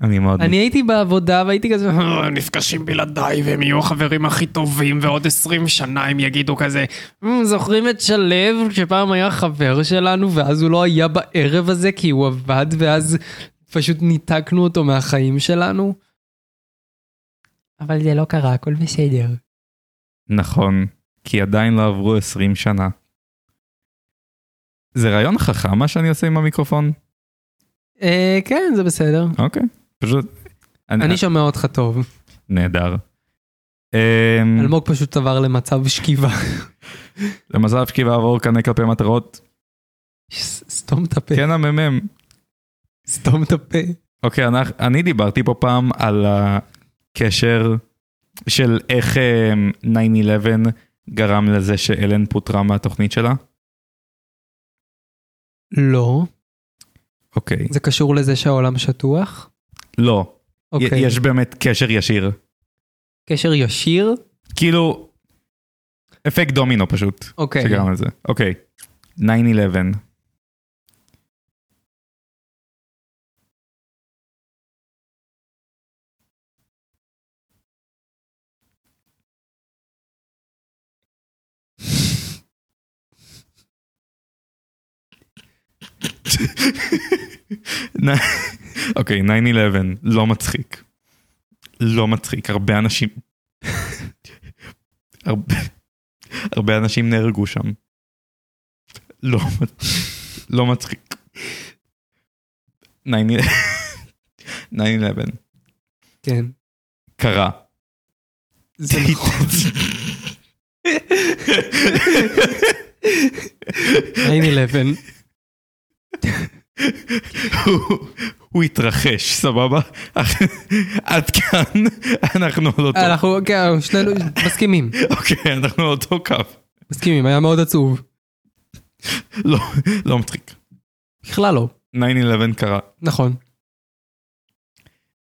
Speaker 2: אני מאוד...
Speaker 1: אני הייתי בעבודה והייתי כזה... "אה,
Speaker 3: הם נפגשים בלעדיי והם יהיו החברים הכי טובים ועוד 20 שנה הם יגידו כזה
Speaker 1: "מ, "אה, זוכרים את שלו שפעם היה חבר שלנו ואז הוא לא היה בערב הזה כי הוא עבד ואז פשוט ניתקנו אותו מהחיים שלנו? אבל זה לא קרה, הכל בסדר.
Speaker 2: נכון, כי עדיין לא עברו 20 שנה. זה רעיון חכם מה שאני עושה עם המיקרופון?
Speaker 1: אה, כן, זה בסדר.
Speaker 2: אוקיי, פשוט...
Speaker 1: אני Mm. שומע אותך טוב.
Speaker 2: נהדר. אמ,
Speaker 1: אלמוג פשוט עבר למצב שכיבה.
Speaker 2: למזל שכי ועבור קנה כלפי מטרות.
Speaker 1: ס- סתום את הפה,
Speaker 2: כן הממ"מ.
Speaker 1: סתום את הפה.
Speaker 2: אוקיי, אנחנו- אני דיברתי פה פעם על הקשר של איך אמ, 9-11 גרם לזה שאלן פוטרה מהתוכנית שלה.
Speaker 1: לא,
Speaker 2: אוקיי.
Speaker 1: זה קשור לזה שהעולם שטוח.
Speaker 2: לא. י-
Speaker 1: אוקיי.
Speaker 2: יש באמת קשר ישיר.
Speaker 1: קשר ישיר?
Speaker 2: כאילו, אפקט דומינו פשוט,
Speaker 1: אוקיי.
Speaker 2: שגרם לזה. אוקיי, 9-11. אוקיי, 9-11, לא מצחיק. לא מצחיק, הרבה אנשים הרבה, הרבה אנשים נהרגו שם. לא, לא מצחיק. 9-11 9-11
Speaker 1: כן.
Speaker 2: קרה.
Speaker 1: זה נכון. נכון. 9-11.
Speaker 2: הוא- הוא התרחש, סבבה? עד כאן אנחנו על אותו,
Speaker 1: אנחנו, כן, שנינו מסכימים.
Speaker 2: אוקיי, אנחנו על אותו קו.
Speaker 1: מסכימים, היה מאוד עצוב.
Speaker 2: לא, לא מצחיק.
Speaker 1: בכלל לא.
Speaker 2: 9-11 קרה.
Speaker 1: נכון.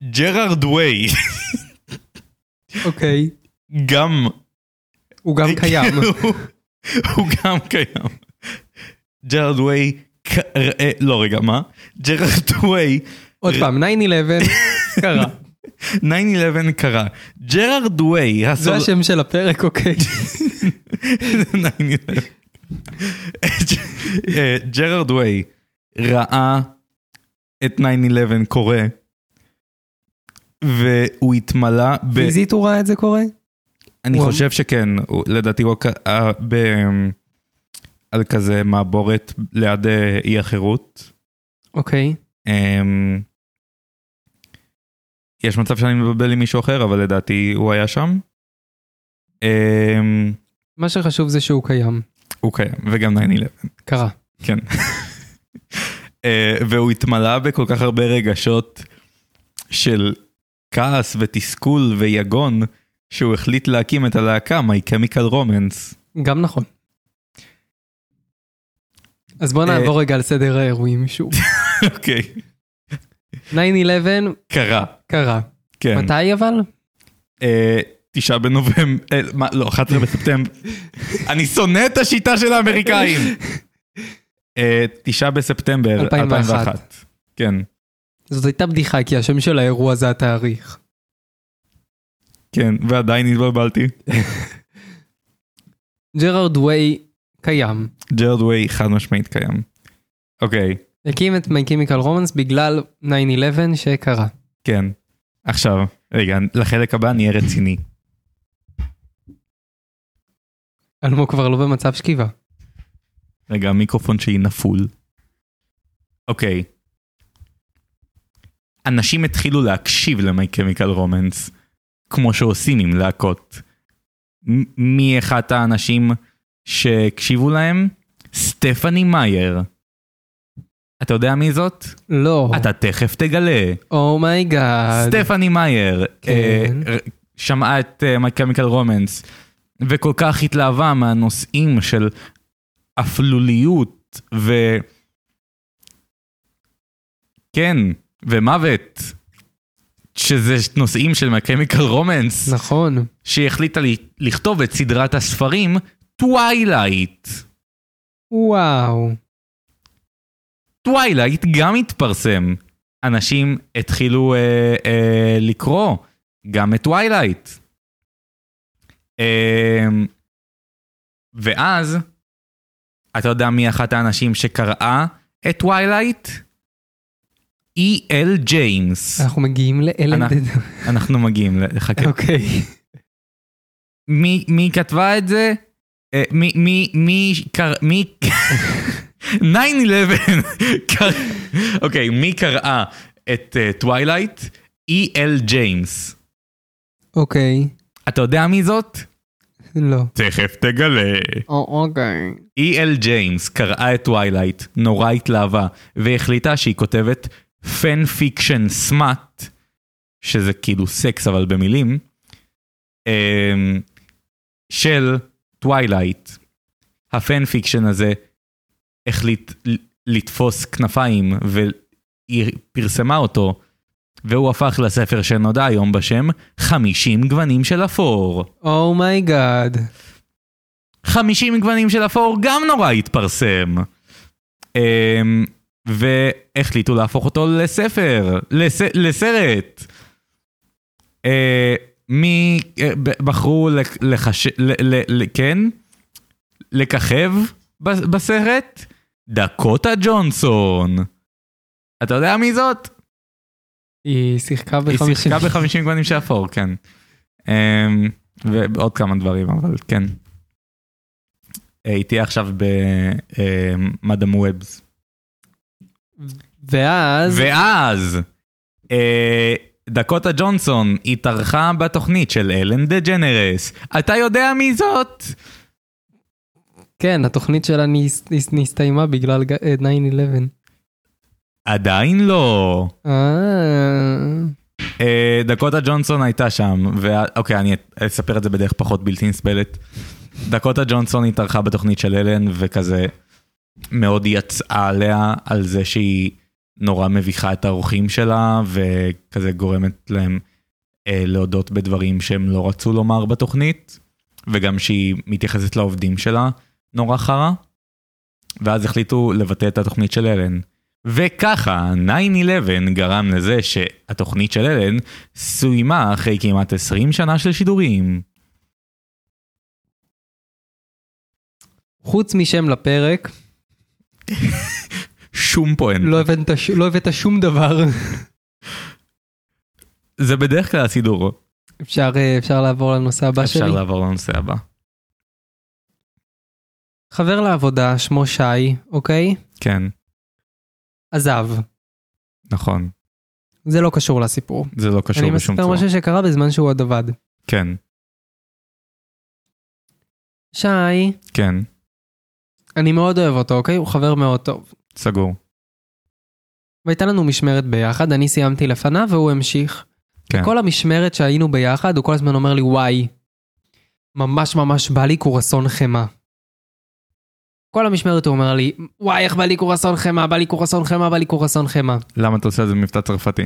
Speaker 2: ג'רארד ויי
Speaker 1: אוקיי.
Speaker 2: גם
Speaker 1: הוא גם קיים.
Speaker 2: הוא- הוא גם קיים. ג'רד ויי, ק- אה, לא רגע, מה? ג'רד ויי,
Speaker 1: עוד פעם, 9-11 קרה.
Speaker 2: 9-11 קרה. ג'רד ויי,
Speaker 1: זה
Speaker 2: הסול...
Speaker 1: השם של הפרק, אוקיי.
Speaker 2: 9/11. אה, ג'רד ויי ראה את 9-11 קורה, והוא התמלא ב...
Speaker 1: פיזית הוא ראה את זה קורה?
Speaker 2: אני
Speaker 1: וואו.
Speaker 2: חושב שכן, הוא- לדעתי הוא ק- אה, ב... על כזה מעבורת ליד אה, אי החירות.
Speaker 1: אוקיי.
Speaker 2: אמ, יש מצב שאני מבלבל עם מישהו אחר, אבל לדעתי הוא היה שם. אמ,
Speaker 1: מה שחשוב זה שהוא קיים.
Speaker 2: הוא קיים, וגם 9-11.
Speaker 1: קרה.
Speaker 2: אה, והוא התמלא בכל כך הרבה רגשות של כעס ותסכול ויגון, שהוא החליט להקים את הלהקה My Chemical Romance.
Speaker 1: גם נכון. אז בוא
Speaker 2: אה,
Speaker 1: נעבור רגע על סדר האירועים שוב.
Speaker 2: אוקיי,
Speaker 1: 9-11
Speaker 2: קרה,
Speaker 1: קרה.
Speaker 2: כן.
Speaker 1: מתי אבל?
Speaker 2: אה, תשעה בנובמבר, אה, מה, לא, 11 בספטמבר. אני שונא את השיטה של האמריקאים. אה, תשעה בספטמבר
Speaker 1: 2001.
Speaker 2: 2001. כן,
Speaker 1: זאת הייתה בדיחה, כי השם של האירוע זה התאריך.
Speaker 2: כן, ועדיין התבלבלתי.
Speaker 1: ג'רארד ווי קיים.
Speaker 2: ג'רד ווי חד משמעית קיים. אוקיי,
Speaker 1: הקים את My Chemical Romance בגלל 9-11 שקרה.
Speaker 2: כן. עכשיו, רגע, לחלק הבא נהיה רציני.
Speaker 1: אלמוג כבר לא במצב שכיבה.
Speaker 2: רגע, המיקרופון שלי נפול. אוקיי. אנשים התחילו להקשיב ל-My Chemical Romance, כמו שעושים עם להקות. מ- מי אחת האנשים שהקשיבו להם? סטפני מאייר. אתה יודע מי זאת?
Speaker 1: לא. Oh
Speaker 2: אתה תכף תגלה.
Speaker 1: אומייגאד.
Speaker 2: סטפני מאייר
Speaker 1: כן.
Speaker 2: אה, ר- שמעה את אה, My Chemical Romance וכל כך התלהבה מהנושאים של אפלוליות ו... כן, ומוות, שזה נושאים של My Chemical Romance,
Speaker 1: נכון.
Speaker 2: שהיא החליטה לי- לכתוב את סדרת הספרים טווילייט.
Speaker 1: וואו.
Speaker 2: טווילייט גם התפרסם. אנשים התחילו אה, אה, לקרוא גם את טווילייט. אה, ואז, אתה יודע מי אחת האנשים שקראה את טווילייט? E אי.אל ג'יימס.
Speaker 1: אנחנו מגיעים לאלן
Speaker 2: אנחנו-
Speaker 1: דדו.
Speaker 2: אנחנו מגיעים, ל- חכה.
Speaker 1: אה. אוקיי.
Speaker 2: מי, מי כתבה את זה? אה, מי, מי, מי, קר... מי... 9-11. קר- אוקיי, מי קראה את אה, טווילייט? E אי.אל ג'יימס.
Speaker 1: אוקיי.
Speaker 2: אתה יודע מי זאת?
Speaker 1: לא.
Speaker 2: תכף תגלה.
Speaker 1: אוקיי.
Speaker 2: אי.אל ג'יימס E קראה את טווילייט, נורא התלהבה, והחליטה שהיא כותבת פן פיקשן סמאט, שזה כאילו סקס אבל במילים, אמ, של טווילייט. הפן פיקשן הזה החליט ל- לתפוס כנפיים, והיא פרסמה אותו, והוא הפך לספר שנודע היום בשם 50 גוונים של אפור.
Speaker 1: Oh אומייגאד.
Speaker 2: 50 גוונים של אפור גם נורא התפרסם. אמ, והחליטו להפוך אותו לספר, לס, לסרט. אה, מי אה, ב- בחרו לק- לחש... ל, ל, ל, כן? לככב ב- בסרט? דקוטה ג'ונסון. אתה יודע מי זאת?
Speaker 1: היא שיחקה
Speaker 2: היא
Speaker 1: בחמישים.
Speaker 2: שיחקה ב-50 גוונים של אפור, כן. אמ, ועוד כמה דברים, אבל כן. אה, היא תהיה עכשיו אה, במדאם וובס.
Speaker 1: ואז...
Speaker 2: ואז, אה, דקוטה ג'ונסון התארחה בתוכנית של אלן דה ג'נרס. אתה יודע מי זאת?
Speaker 1: כן, התוכנית שלה ניס- ניס- נסתיימה בגלל ג- אה, 9-11.
Speaker 2: עדיין לא.
Speaker 1: אה...
Speaker 2: אה, דקוטה ג'ונסון הייתה שם, ואוקיי, אני אספר את זה בדרך פחות בלתי נסבלת. דקוטה ג'ונסון התארחה בתוכנית של אלן, וכזה מאוד יצאה עליה על זה שהיא נורא מביכה את האורחים שלה, וכזה גורמת להם אה, להודות בדברים שהם לא רצו לומר בתוכנית, וגם שהיא מתייחסת לעובדים שלה נורא חרא. ואז החליטו לבטל את התוכנית של אלן. וככה 9-11 גרם לזה שהתוכנית של אלן סוימה אחרי כמעט 20 שנה של שידורים.
Speaker 1: חוץ משם לפרק,
Speaker 2: שום פואנט.
Speaker 1: לא הבאת ש- לא הבאת שום דבר.
Speaker 2: זה בדרך כלל הסידור.
Speaker 1: אפשר אה, אפשר לעבור לנושא הבא שלי?
Speaker 2: אפשר לעבור לנושא הבא.
Speaker 1: חבר לעבודה, שמו שי, אוקיי?
Speaker 2: כן,
Speaker 1: עזב.
Speaker 2: נכון.
Speaker 1: זה לא קשור לסיפור.
Speaker 2: זה לא קשור
Speaker 1: אני
Speaker 2: בשום
Speaker 1: מספר
Speaker 2: צורה.
Speaker 1: משהו שקרה בזמן שהוא עוד עבד.
Speaker 2: כן,
Speaker 1: שי,
Speaker 2: כן,
Speaker 1: אני מאוד אוהב אותו, אוקיי? הוא חבר מאוד טוב.
Speaker 2: סגור.
Speaker 1: והייתה לנו משמרת ביחד, אני סיימתי לפניו והוא המשיך.
Speaker 2: כן.
Speaker 1: כל המשמרת שהיינו ביחד, הוא כל הזמן אומר לי, וואי, ממש ממש בא לי קורסון חמאה. כל המשמרת הוא אומר לי, וואי, איך בא לי קורסון חמאה, בא לי קורסון חמאה, בא לי קורסון חמאה.
Speaker 2: למה אתה עושה את זה במבטא צרפתי?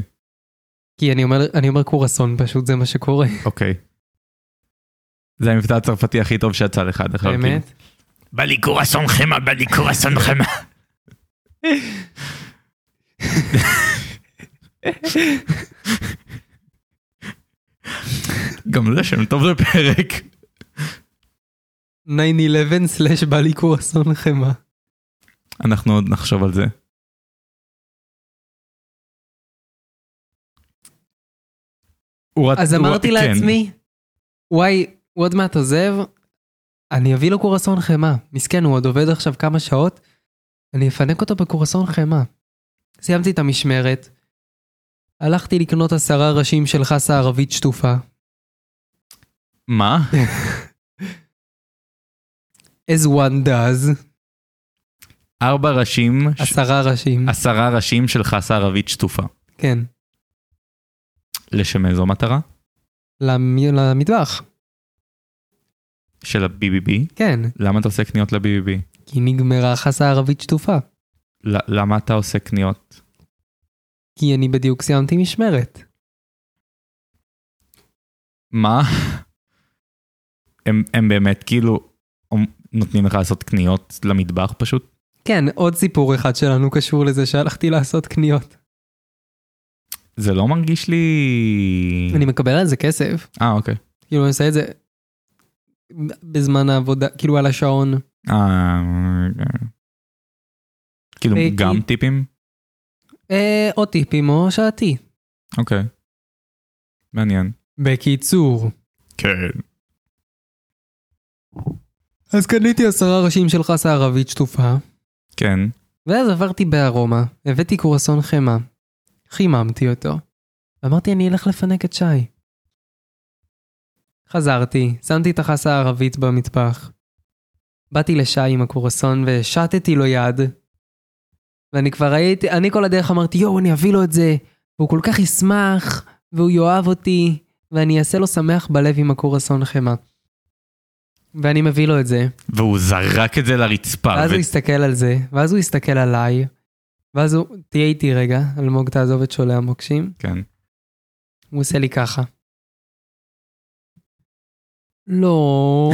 Speaker 1: כי אני אומר, אני אומר קורסון, פשוט זה מה שקורה.
Speaker 2: אוקיי. זה המבטא הצרפתי הכי טוב שיצא לך עד עכשיו. כאילו.
Speaker 1: באמת?
Speaker 2: בא לי קורסון חמא, בא לי קורסון חמא. גם זה שם טוב לפרק.
Speaker 1: 9-11/ בא לי קורסון חמאה.
Speaker 2: אנחנו עוד נחשוב על זה. הוא רצ-
Speaker 1: אז
Speaker 2: הוא-
Speaker 1: אמרתי
Speaker 2: כן.
Speaker 1: לעצמי, וואי, הוא עוד מעט עוזב, אני אביא לו קורסון חמאה. מסכן, הוא עוד עובד עכשיו כמה שעות, אני אפנק אותו בקורסון חמאה. סיימתי את המשמרת, הלכתי לקנות עשרה ראשים של חסה ערבית שטופה.
Speaker 2: מה?
Speaker 1: as one does,
Speaker 2: ארבע ראשים, ש-
Speaker 1: עשרה ראשים,
Speaker 2: עשרה ראשים של חסה ערבית שטופה.
Speaker 1: כן,
Speaker 2: לשם איזו מטרה?
Speaker 1: למ- למטבח,
Speaker 2: של ה-BBB?
Speaker 1: כן,
Speaker 2: למה אתה עושה קניות ל-BBB?
Speaker 1: כי נגמרה חסה ערבית שטופה,
Speaker 2: ל- למה אתה עושה קניות?
Speaker 1: כי אני בדיוק סיימתי משמרת.
Speaker 2: מה? הם, הם באמת כאילו אומ- נותנים לך לעשות קניות למטבח פשוט?
Speaker 1: כן, עוד סיפור אחד שלנו קשור לזה שהלכתי לעשות קניות.
Speaker 2: זה לא מרגיש לי...
Speaker 1: אני מקבל על זה כסף.
Speaker 2: אה, אוקיי.
Speaker 1: כאילו אני עושה את זה בזמן העבודה, כאילו על השעון.
Speaker 2: אה... כאילו
Speaker 1: אה, כי-
Speaker 2: גם טיפים?
Speaker 1: אה, או טיפים או שעתי.
Speaker 2: אוקיי. מעניין.
Speaker 1: בקיצור.
Speaker 2: כן.
Speaker 1: אז קניתי עשרה ראשים של חסה ערבית שטופה,
Speaker 2: כן.
Speaker 1: ואז עברתי בארומה, הבאתי קורסון חמאה, חיממתי אותו, ואמרתי אני אלך לפנק את שי. חזרתי, שמתי את החסה הערבית במטבח. באתי לשי עם הקורסון והשטתי לו יד, ואני כבר הייתי, אני כל הדרך אמרתי יואו אני אביא לו את זה, והוא כל כך ישמח, והוא יאהב אותי, ואני אעשה לו שמח בלב עם הקורסון חמאה. ואני מביא לו את זה,
Speaker 2: והוא זרק את זה לרצפה.
Speaker 1: ואז הוא הסתכל על זה, ואז הוא הסתכל עליי, ואז הוא, תהיה איתי רגע, אלמוג תעזוב את שולי המוקשים,
Speaker 2: כן.
Speaker 1: הוא עושה לי ככה. לא,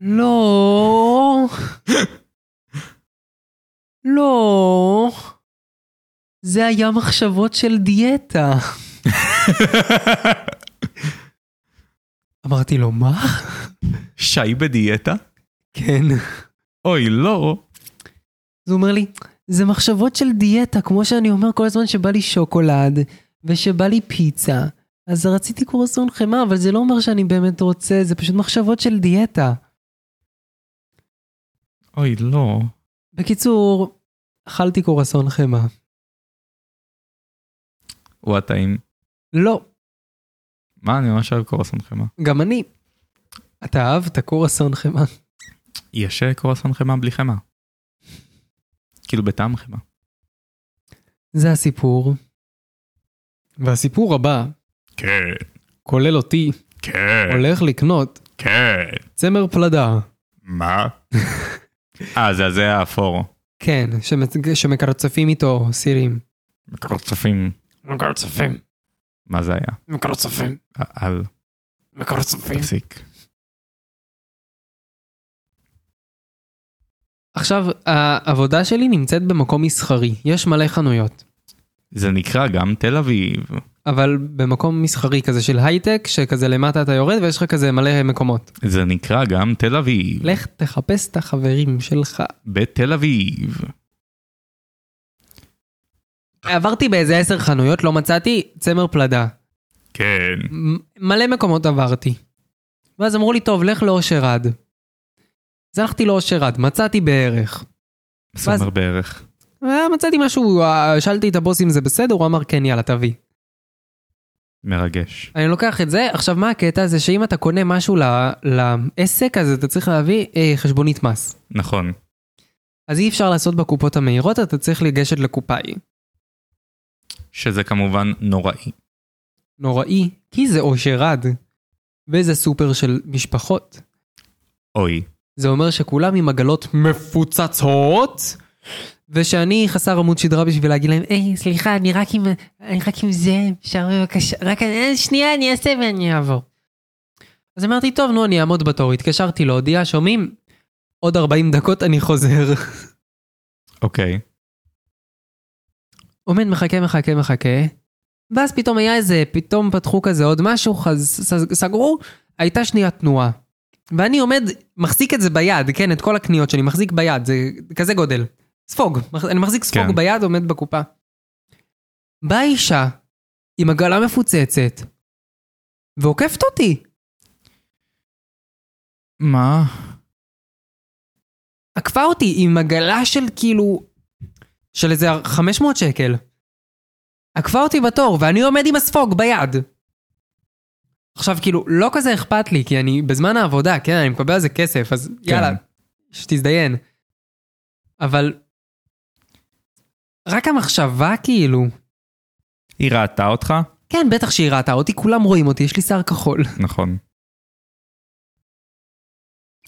Speaker 1: לא, לא, זה היה מחשבות של דיאטה. אמרתי לו, מה?
Speaker 2: שי בדיאטה?
Speaker 1: כן.
Speaker 2: אוי, לא.
Speaker 1: אז הוא אומר לי, זה מחשבות של דיאטה, כמו שאני אומר כל הזמן שבא לי שוקולד, ושבא לי פיצה. אז רציתי קורסון חמאה, אבל זה לא אומר שאני באמת רוצה, זה פשוט מחשבות של דיאטה.
Speaker 2: אוי, לא.
Speaker 1: בקיצור, אכלתי קורסון חמאה.
Speaker 2: הוא הטעים.
Speaker 1: לא,
Speaker 2: מה, אני ממש אוהב אה? קורסון חמאה.
Speaker 1: גם אני. אתה אהבת קורסון חמאה.
Speaker 2: יש אה, קורסון חמאה בלי חמאה. כאילו בטעם חמאה.
Speaker 1: זה הסיפור. והסיפור הבא,
Speaker 2: כן,
Speaker 1: כולל אותי,
Speaker 2: כן,
Speaker 1: הולך לקנות
Speaker 2: כן.
Speaker 1: צמר פלדה.
Speaker 2: מה? אה, זה הזה האפור.
Speaker 1: כן, שמצ- שמקרצפים איתו סירים.
Speaker 2: מקרוצפים.
Speaker 3: מקרצפים,
Speaker 2: מה זה היה?
Speaker 3: מקרצפים,
Speaker 2: א- אל,
Speaker 3: מקרצפים.
Speaker 2: תפסיק.
Speaker 1: עכשיו, העבודה שלי נמצאת במקום מסחרי, יש מלא חנויות,
Speaker 2: זה נקרא גם תל אביב.
Speaker 1: אבל במקום מסחרי כזה של הייטק, שכזה למטה אתה יורד ויש לך כזה מלא מקומות.
Speaker 2: זה נקרא גם תל אביב.
Speaker 1: לך תחפש את החברים שלך.
Speaker 2: בתל אביב.
Speaker 1: עברתי באיזה עשר חנויות, לא מצאתי צמר פלדה.
Speaker 2: כן.
Speaker 1: מ- מלא מקומות עברתי. ואז אמרו לי, טוב, לך לאושר עד. אז הלכתי לאושר עד, מצאתי בערך.
Speaker 2: זה אומר בערך.
Speaker 1: אה, מצאתי משהו, אה, שאלתי את הבוס אם זה בסדר, הוא אמר, כן, יאללה, תביא.
Speaker 2: מרגש.
Speaker 1: אני לוקח את זה, עכשיו מה הקטע זה שאם אתה קונה משהו ל- לעסק אז אתה צריך להביא אה, חשבונית מס.
Speaker 2: נכון.
Speaker 1: אז אי אפשר לעשות בקופות המהירות, אתה צריך לגשת לקופאי.
Speaker 2: שזה כמובן נוראי.
Speaker 1: נוראי, כי זה אושר עד. וזה סופר של משפחות.
Speaker 2: אוי.
Speaker 1: זה אומר שכולם עם עגלות מפוצצות, ושאני חסר עמוד שדרה בשביל להגיד להם, היי, סליחה, אני רק עם, אני רק עם זה, אפשר בבקשה, רק אה, שנייה, אני אעשה ואני אעבור. אז אמרתי, טוב, נו, אני אעמוד בתור. התקשרתי להודיע, שומעים? עוד 40 דקות אני חוזר.
Speaker 2: אוקיי.
Speaker 1: עומד, מחכה, מחכה, מחכה, ואז פתאום היה איזה, פתאום פתחו כזה עוד משהו, חז, ס- סגרו, הייתה שנייה תנועה. ואני עומד, מחזיק את זה ביד, כן, את כל הקניות שלי, מחזיק ביד, זה כזה גודל. ספוג, מח- אני מחזיק ספוג
Speaker 2: כן.
Speaker 1: ביד, עומד בקופה. באה אישה עם עגלה מפוצצת ועוקפת אותי.
Speaker 2: מה?
Speaker 1: עקפה אותי עם עגלה של כאילו... של איזה 500 שקל. עקפה אותי בתור, ואני עומד עם הספוג ביד. עכשיו, כאילו, לא כזה אכפת לי, כי אני בזמן העבודה, כן, אני מקבל על זה כסף, אז כן. יאללה, שתזדיין. אבל... רק המחשבה, כאילו...
Speaker 2: היא ראתה אותך?
Speaker 1: כן, בטח שהיא ראתה אותי, כולם רואים אותי, יש לי שיער כחול.
Speaker 2: נכון.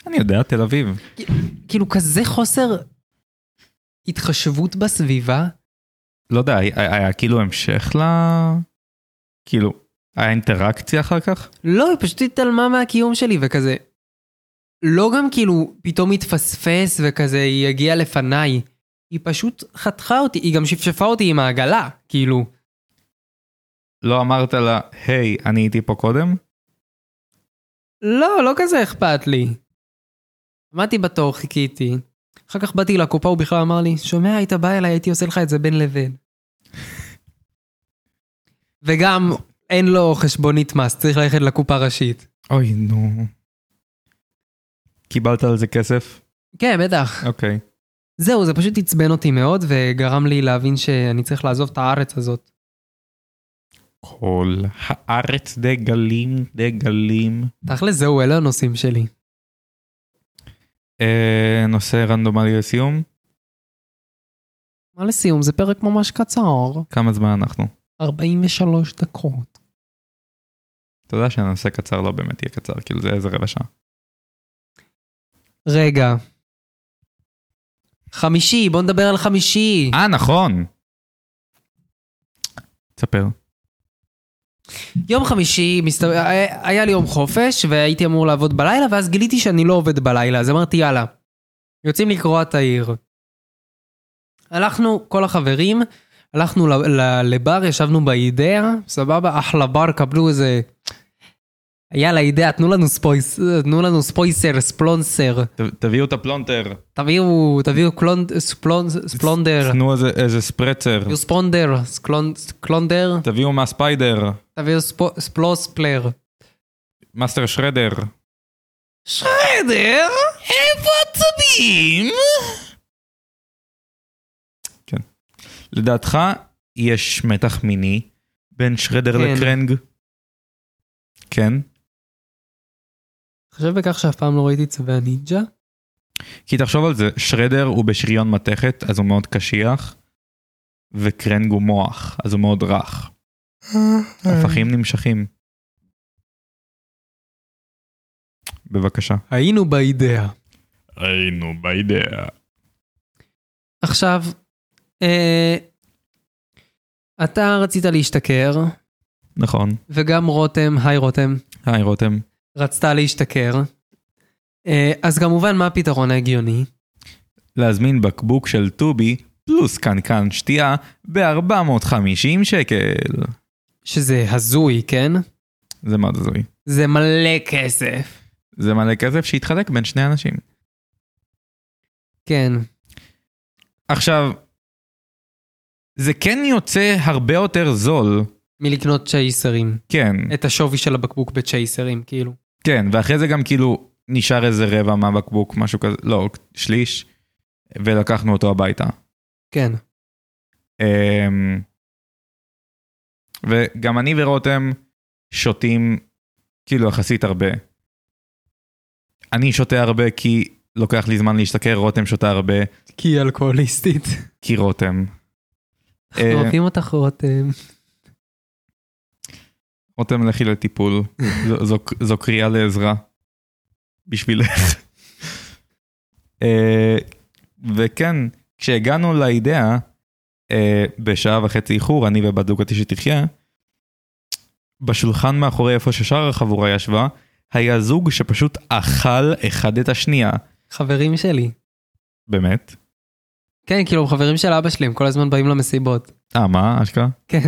Speaker 2: אני יודע, תל אביב.
Speaker 1: כאילו, כזה חוסר התחשבות בסביבה.
Speaker 2: לא יודע, היה, היה כאילו המשך ל... כאילו, היה אינטראקציה אחר כך?
Speaker 1: לא, היא פשוט התעלמה מהקיום שלי וכזה. לא גם כאילו פתאום התפספס וכזה היא הגיעה לפניי. היא פשוט חתכה אותי, היא גם שפשפה אותי עם העגלה, כאילו.
Speaker 2: לא אמרת לה, היי, אני הייתי פה קודם?
Speaker 1: לא, לא כזה אכפת לי. עמדתי בתור, חיכיתי. אחר כך באתי לקופה, הוא בכלל אמר לי, שומע, היית בא אליי, הייתי עושה לך את זה בין לבין. וגם, אין לו חשבונית מס, צריך ללכת לקופה הראשית.
Speaker 2: אוי, נו. קיבלת על זה כסף?
Speaker 1: כן, בטח.
Speaker 2: אוקיי.
Speaker 1: זהו, זה פשוט עצבן אותי מאוד, וגרם לי להבין שאני צריך לעזוב את הארץ הזאת.
Speaker 2: כל הארץ דגלים, דגלים.
Speaker 1: תכל'ס, זהו, אלה הנושאים שלי.
Speaker 2: אה, נושא רנדומלי לסיום?
Speaker 1: מה לסיום, זה פרק ממש קצר.
Speaker 2: כמה זמן אנחנו?
Speaker 1: 43 דקות.
Speaker 2: אתה יודע שהנושא קצר לא באמת יהיה קצר, כאילו זה איזה רבע שעה.
Speaker 1: רגע. חמישי, בוא נדבר על חמישי.
Speaker 2: אה, נכון. תספר.
Speaker 1: יום חמישי, מסת... היה לי יום חופש, והייתי אמור לעבוד בלילה, ואז גיליתי שאני לא עובד בלילה, אז אמרתי, יאללה, יוצאים לקרוע את העיר. הלכנו, כל החברים, הלכנו ל... ל... לבר, ישבנו באידאה, סבבה, אחלה בר, קבלו איזה... יאללה, אידאה, תנו לנו ספויס... תנו לנו ספויסר, ספלונסר.
Speaker 2: ת- תביאו את הפלונטר.
Speaker 1: תביאו, תביאו קלונד... ספלונ... ספלונדר.
Speaker 2: תנו איזה- איזה ספרצר.
Speaker 1: תביאו ספונדר, סקלונ... קלונדר,
Speaker 2: תביאו מהספיידר.
Speaker 1: תביאו ספו... ספלוספלר.
Speaker 2: מאסטר שרדר.
Speaker 1: שרדר, איפה הצבים?
Speaker 2: כן. לדעתך, יש מתח מיני בין שרדר
Speaker 1: כן.
Speaker 2: לקרנג? כן.
Speaker 1: חושב בכך שאף פעם לא ראיתי צווי הנינג'ה?
Speaker 2: כי תחשוב על זה, שרדר הוא בשריון מתכת, אז הוא מאוד קשיח, וקרנג הוא מוח, אז הוא מאוד רך. הפכים נמשכים. בבקשה.
Speaker 1: היינו באידאה.
Speaker 2: היינו באידאה.
Speaker 1: עכשיו, אה, אתה רצית להשתכר,
Speaker 2: נכון.
Speaker 1: וגם רותם, היי רותם,
Speaker 2: היי רותם.
Speaker 1: רצתה להשתכר. אה, אז כמובן, מה הפתרון ההגיוני?
Speaker 2: להזמין בקבוק של טובי פלוס קנקן שתייה ב-450 שקל.
Speaker 1: שזה הזוי, כן?
Speaker 2: זה מאוד הזוי.
Speaker 1: זה מלא כסף.
Speaker 2: זה מלא כסף שהתחלק בין שני אנשים.
Speaker 1: כן.
Speaker 2: עכשיו, זה כן יוצא הרבה יותר זול.
Speaker 1: מלקנות צ'ייסרים.
Speaker 2: כן,
Speaker 1: את השווי של הבקבוק בצ'ייסרים, כאילו.
Speaker 2: כן, ואחרי זה גם כאילו נשאר איזה רבע מהבקבוק, משהו כזה, לא, שליש, ולקחנו אותו הביתה.
Speaker 1: כן.
Speaker 2: אמ, וגם אני ורותם שותים כאילו יחסית הרבה. אני שותה הרבה כי לוקח לי זמן להשתכר, רותם שותה הרבה
Speaker 1: כי היא אלכוהוליסטית.
Speaker 2: כי רותם.
Speaker 1: אנחנו
Speaker 2: אה,
Speaker 1: אוהבים אותך רותם.
Speaker 2: רותם לכי לטיפול, זו, זו, זו קריאה לעזרה. בשבילך. אה, וכן, כשהגענו לאידאה, אה, בשעה וחצי איחור, אני ובת זוגתי שתחיה, בשולחן מאחורי איפה ששאר החבורה ישבה, היה זוג שפשוט אכל אחד את השנייה.
Speaker 1: חברים שלי.
Speaker 2: באמת?
Speaker 1: כן, כאילו, הם חברים של אבא שלי, הם כל הזמן באים למסיבות.
Speaker 2: אה, מה, אשכרה?
Speaker 1: כן.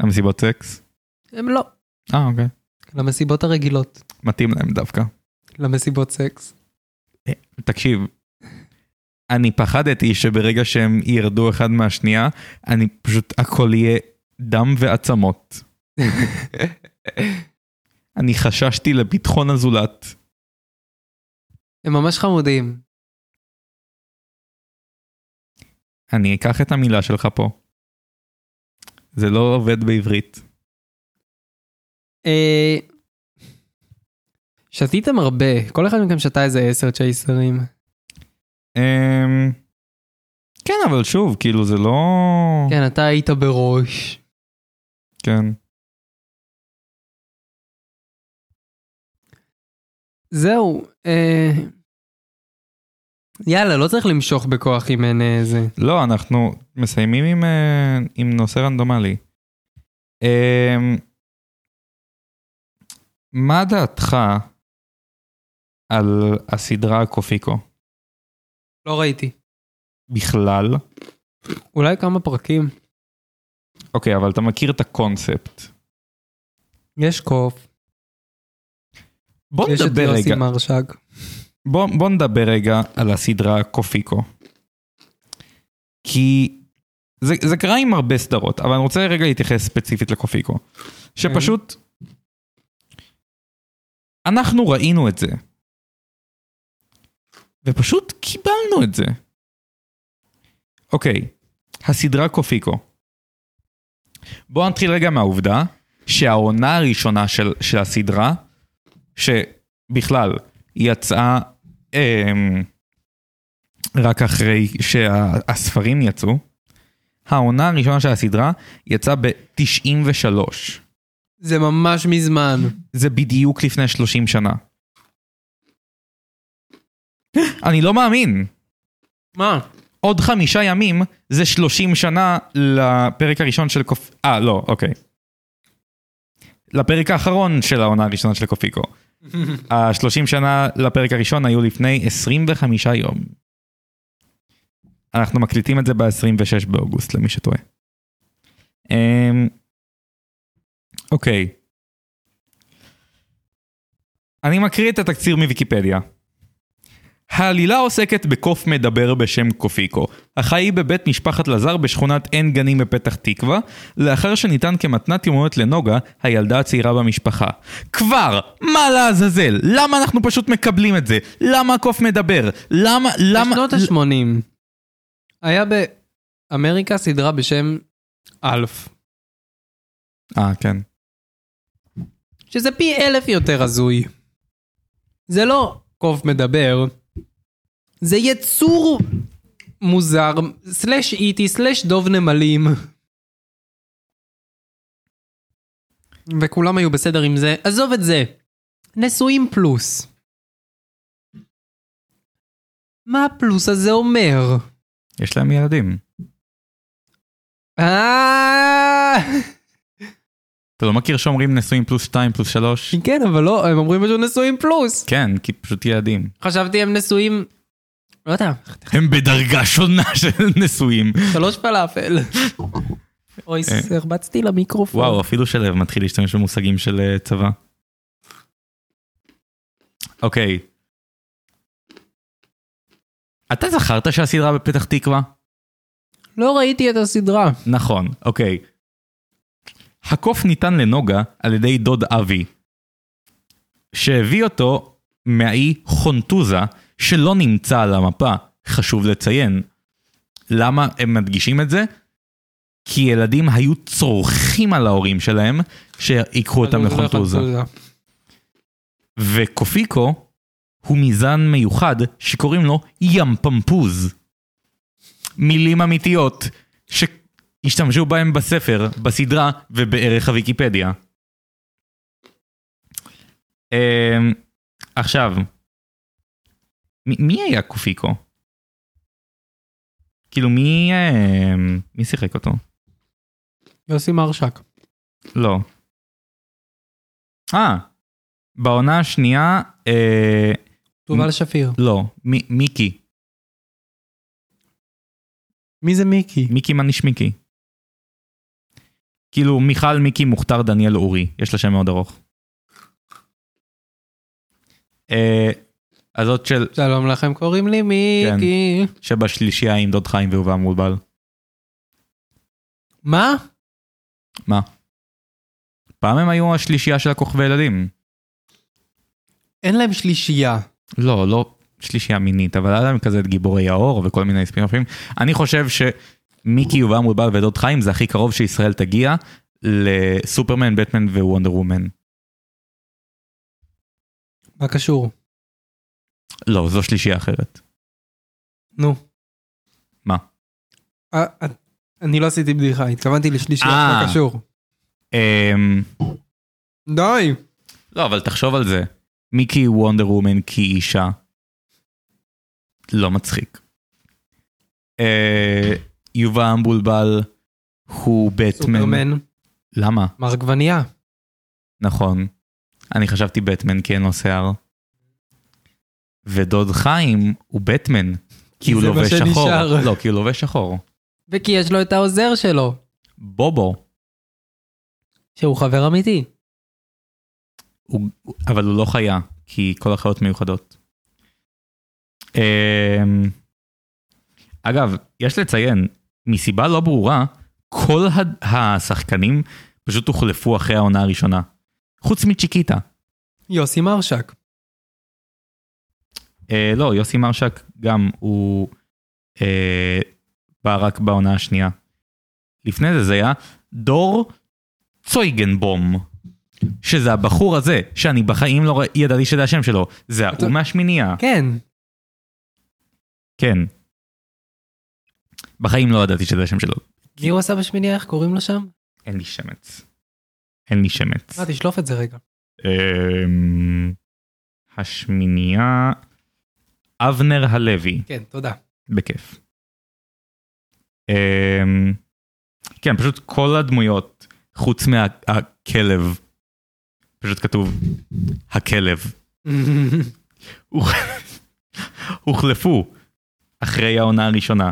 Speaker 2: המסיבות סקס?
Speaker 1: הם לא.
Speaker 2: אה, אוקיי.
Speaker 1: למסיבות הרגילות.
Speaker 2: מתאים להם דווקא.
Speaker 1: למסיבות סקס.
Speaker 2: תקשיב, אני פחדתי שברגע שהם ירדו אחד מהשנייה, אני פשוט, הכל יהיה דם ועצמות. אני חששתי לביטחון הזולת.
Speaker 1: הם ממש חמודים.
Speaker 2: אני אקח את המילה שלך פה. זה לא עובד בעברית.
Speaker 1: אה, שתיתם הרבה, כל אחד מכם שתה איזה עשר צ'ייסרים.
Speaker 2: אמ... כן, אבל שוב, כאילו זה לא...
Speaker 1: כן, אתה היית בראש.
Speaker 2: כן.
Speaker 1: זהו, אה... יאללה, לא צריך למשוך בכוח אם אין אה, זה.
Speaker 2: לא, אנחנו מסיימים עם, אה, עם נושא רנדומלי. אמ, מה דעתך על הסדרה קופיקו?
Speaker 1: לא ראיתי.
Speaker 2: בכלל?
Speaker 1: אולי כמה פרקים.
Speaker 2: אוקיי, אבל אתה מכיר את הקונספט.
Speaker 1: יש קוף,
Speaker 2: בוא
Speaker 1: יש את
Speaker 2: נדבר
Speaker 1: יוסי
Speaker 2: רגע,
Speaker 1: מרשק.
Speaker 2: בוא, בוא נדבר רגע על הסדרה קופיקו. כי זה, זה קרה עם הרבה סדרות, אבל אני רוצה רגע להתייחס ספציפית לקופיקו. שפשוט, אנחנו ראינו את זה. ופשוט קיבלנו את זה. אוקיי, הסדרה קופיקו. בואו נתחיל רגע מהעובדה שהעונה הראשונה של, של הסדרה, שבכלל, היא יצאה אמ, רק אחרי שהספרים יצאו. העונה הראשונה של הסדרה יצאה ב-93.
Speaker 1: זה ממש מזמן.
Speaker 2: זה בדיוק לפני 30 שנה. אני לא מאמין.
Speaker 1: מה?
Speaker 2: עוד חמישה ימים זה 30 שנה לפרק הראשון של קופ... אה, לא, אוקיי. לפרק האחרון של העונה הראשונה של קופיקו. ה-30 שנה לפרק הראשון היו לפני 25 יום. אנחנו מקליטים את זה ב-26 באוגוסט, למי שטועה. אמ, אוקיי. אני מקריא את התקציר מוויקיפדיה. העלילה עוסקת בקוף מדבר בשם קופיקו, החי בבית משפחת לזר בשכונת עין גנים בפתח תקווה, לאחר שניתן כמתנת יומיות לנוגה, הילדה הצעירה במשפחה. כבר! מה לעזאזל? למה אנחנו פשוט מקבלים את זה? למה הקוף מדבר? למה, למה...
Speaker 1: בשנות ה-80. היה באמריקה סדרה בשם אלף,
Speaker 2: אה, כן.
Speaker 1: שזה פי אלף יותר הזוי. זה לא קוף מדבר, זה יצור מוזר, סלאש איטי, סלאש דוב נמלים. וכולם היו בסדר עם זה, עזוב את זה. נשואים פלוס. מה הפלוס הזה אומר?
Speaker 2: יש להם ילדים.
Speaker 1: אה...
Speaker 2: אתה לא מכיר שאומרים נשואים פלוס 2 פלוס 3?
Speaker 1: כן, אבל לא, הם אומרים פשוט נשואים פלוס.
Speaker 2: כן, כי פשוט ילדים.
Speaker 1: חשבתי הם נשואים, לא יודע,
Speaker 2: הם בדרגה שונה של נשואים.
Speaker 1: שלוש פלאפל. אוי, הרבצתי למיקרופון.
Speaker 2: וואו, אפילו שלו מתחיל להשתמש במושגים של אה, צבא. אוקיי. אתה זכרת שהסדרה בפתח תקווה?
Speaker 1: לא ראיתי את הסדרה.
Speaker 2: נכון, אוקיי. הקוף ניתן לנוגה על ידי דוד אבי, שהביא אותו מהאי חונטוזה, שלא נמצא על המפה, חשוב לציין. למה הם מדגישים את זה? כי ילדים היו צורכים על ההורים שלהם, שיקחו
Speaker 1: לא
Speaker 2: אותם
Speaker 1: נכון,
Speaker 2: לחונטוזה. וקופיקו הוא מזן מיוחד שקוראים לו ים פמפוז. מילים אמיתיות שהשתמשו בהם בספר, בסדרה ובערך הוויקיפדיה. אמ, עכשיו, מ- מי היה קופיקו? כאילו מי, אמ, מי שיחק אותו?
Speaker 1: יוסי מרשק.
Speaker 2: לא. אה, בעונה השנייה, אה,
Speaker 1: תובל שפיר.
Speaker 2: לא, מ- מיקי.
Speaker 1: מי זה מיקי?
Speaker 2: מיקי מניש מיקי. כאילו מיכל מיקי מוכתר דניאל אורי, יש לה שם מאוד ארוך. אה, הזאת של
Speaker 1: שלום לכם, קוראים לי מיקי.
Speaker 2: שבשלישייה עם דוד חיים והוא והמולבל.
Speaker 1: מה?
Speaker 2: פעם הם היו השלישייה של הכוכבי ילדים.
Speaker 1: אין להם שלישייה.
Speaker 2: לא, לא שלישייה מינית, אבל היה להם כזה את גיבורי האור וכל מיני ספינופים. אני חושב שמיקי יובם מולבל ודוד חיים זה הכי קרוב שישראל תגיע לסופרמן, בטמן ווונדר וומן.
Speaker 1: מה קשור?
Speaker 2: לא, זו שלישייה אחרת.
Speaker 1: נו.
Speaker 2: מה?
Speaker 1: אה, אה, אני לא עשיתי בדיחה, התכוונתי לשלישייה,
Speaker 2: אה.
Speaker 1: מה קשור?
Speaker 2: אמ...
Speaker 1: די.
Speaker 2: לא, אבל תחשוב על זה. מיקי היא וונדר וומן כי היא אישה. לא מצחיק. אה, יובה אמבולבל הוא בטמן.
Speaker 1: סופרמן,
Speaker 2: למה?
Speaker 1: מר עגבנייה.
Speaker 2: נכון. אני חשבתי בטמן כי אין לו שיער. ודוד חיים הוא בטמן. כי הוא
Speaker 1: זה מה
Speaker 2: לובש שחור.
Speaker 1: שנשאר.
Speaker 2: לא, כי הוא לובש שחור.
Speaker 1: וכי יש לו את העוזר שלו,
Speaker 2: בובו.
Speaker 1: שהוא חבר אמיתי.
Speaker 2: הוא, אבל הוא לא חיה, כי כל החיות מיוחדות. אמ, אגב, יש לציין, מסיבה לא ברורה, כל הד- השחקנים פשוט הוחלפו אחרי העונה הראשונה. חוץ מצ'יקיטה.
Speaker 1: יוסי מרשק.
Speaker 2: אה, לא, יוסי מרשק גם, הוא אה, בא רק בעונה השנייה. לפני זה זה היה דור צויגנבום, שזה הבחור הזה, שאני בחיים לא רא- ידעתי שזה השם שלו, זה
Speaker 1: אתה-
Speaker 2: ההוא מהשמינייה,
Speaker 1: כן.
Speaker 2: כן. בחיים לא ידעתי שזה השם שלו.
Speaker 1: מי הוא עשה בשמיניה? איך קוראים לו שם?
Speaker 2: אין לי שמץ. אין לי שמץ.
Speaker 1: מה, תשלוף את זה רגע.
Speaker 2: אמ, השמינייה, אבנר הלוי.
Speaker 1: כן, תודה.
Speaker 2: בכיף. אמ, כן, פשוט כל הדמויות, חוץ מהכלב, פשוט כתוב הכלב, הוחלפו אחרי העונה הראשונה.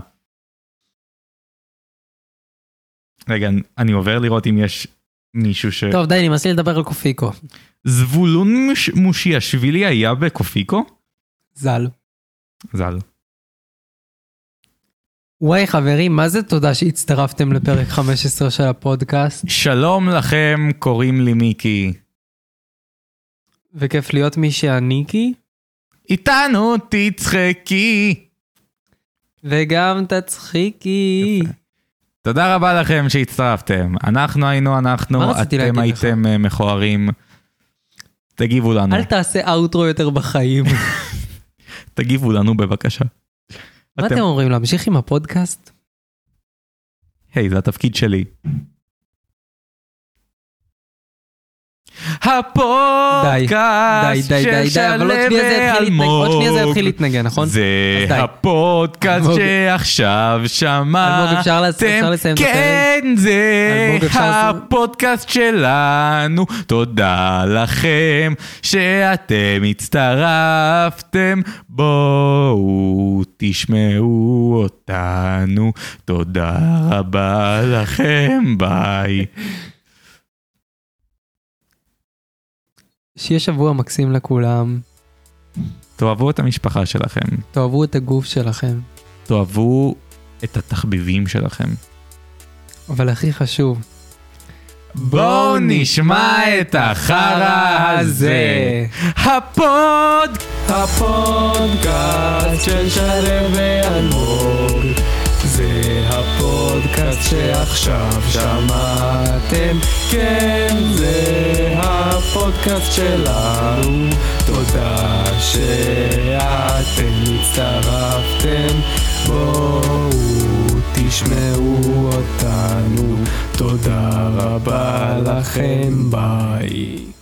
Speaker 2: רגע, אני עובר לראות אם יש מישהו ש...
Speaker 1: טוב, די, נמאס לי לדבר על קופיקו.
Speaker 2: זבולון מוש... מושיאשוילי היה בקופיקו?
Speaker 1: ז"ל.
Speaker 2: ז"ל.
Speaker 1: וואי, חברים, מה זה תודה שהצטרפתם לפרק 15 של הפודקאסט,
Speaker 2: שלום לכם, קוראים לי מיקי.
Speaker 1: וכיף להיות מי שאני כי,
Speaker 2: איתנו תצחקי.
Speaker 1: וגם תצחיקי.
Speaker 2: יפה. תודה רבה לכם שהצטרפתם. אנחנו היינו
Speaker 1: מה
Speaker 2: אנחנו,
Speaker 1: רציתי
Speaker 2: אתם
Speaker 1: להגיד
Speaker 2: הייתם אה, מכוערים. תגיבו לנו,
Speaker 1: אל תעשה אאוטרו יותר בחיים.
Speaker 2: תגיבו לנו בבקשה.
Speaker 1: מה אתם אומרים, להמשיך עם הפודקאסט?
Speaker 2: היי, זה התפקיד שלי.
Speaker 1: די,
Speaker 2: הפודקאסט
Speaker 1: די, די,
Speaker 2: של
Speaker 1: די, אבל עוד
Speaker 2: שלו
Speaker 1: שנייה זה יתחיל להתנגן, עוד שנייה זה יתחיל
Speaker 2: ואלמוג.
Speaker 1: להתנגן, נכון?
Speaker 2: זה
Speaker 1: אז די.
Speaker 2: הפודקאסט
Speaker 1: אלמוג.
Speaker 2: שעכשיו
Speaker 1: אלמוג,
Speaker 2: שמעתם.
Speaker 1: אפשר לס- אפשר לסיים את הפרק?
Speaker 2: כן, זה
Speaker 1: אלמוג, אפשר לסיים?
Speaker 2: הפודקאסט שלנו. תודה לכם שאתם הצטרפתם. בואו תשמעו אותנו. תודה רבה לכם, ביי.
Speaker 1: שיהיה שבוע מקסים לכולם,
Speaker 2: תאהבו את המשפחה שלכם.
Speaker 1: תאהבו את הגוף שלכם,
Speaker 2: תאהבו את התחביבים שלכם.
Speaker 1: אבל הכי חשוב,
Speaker 2: בואו נשמע את החרא הזה. הפוד... הפודקאסט של שלו ואלמוג זה הפודקאסט שעכשיו שמעתם כן, זה הפודקאסט שלנו תודה שאתם הצטרפתם בואו תשמעו אותנו תודה רבה לכם, ביי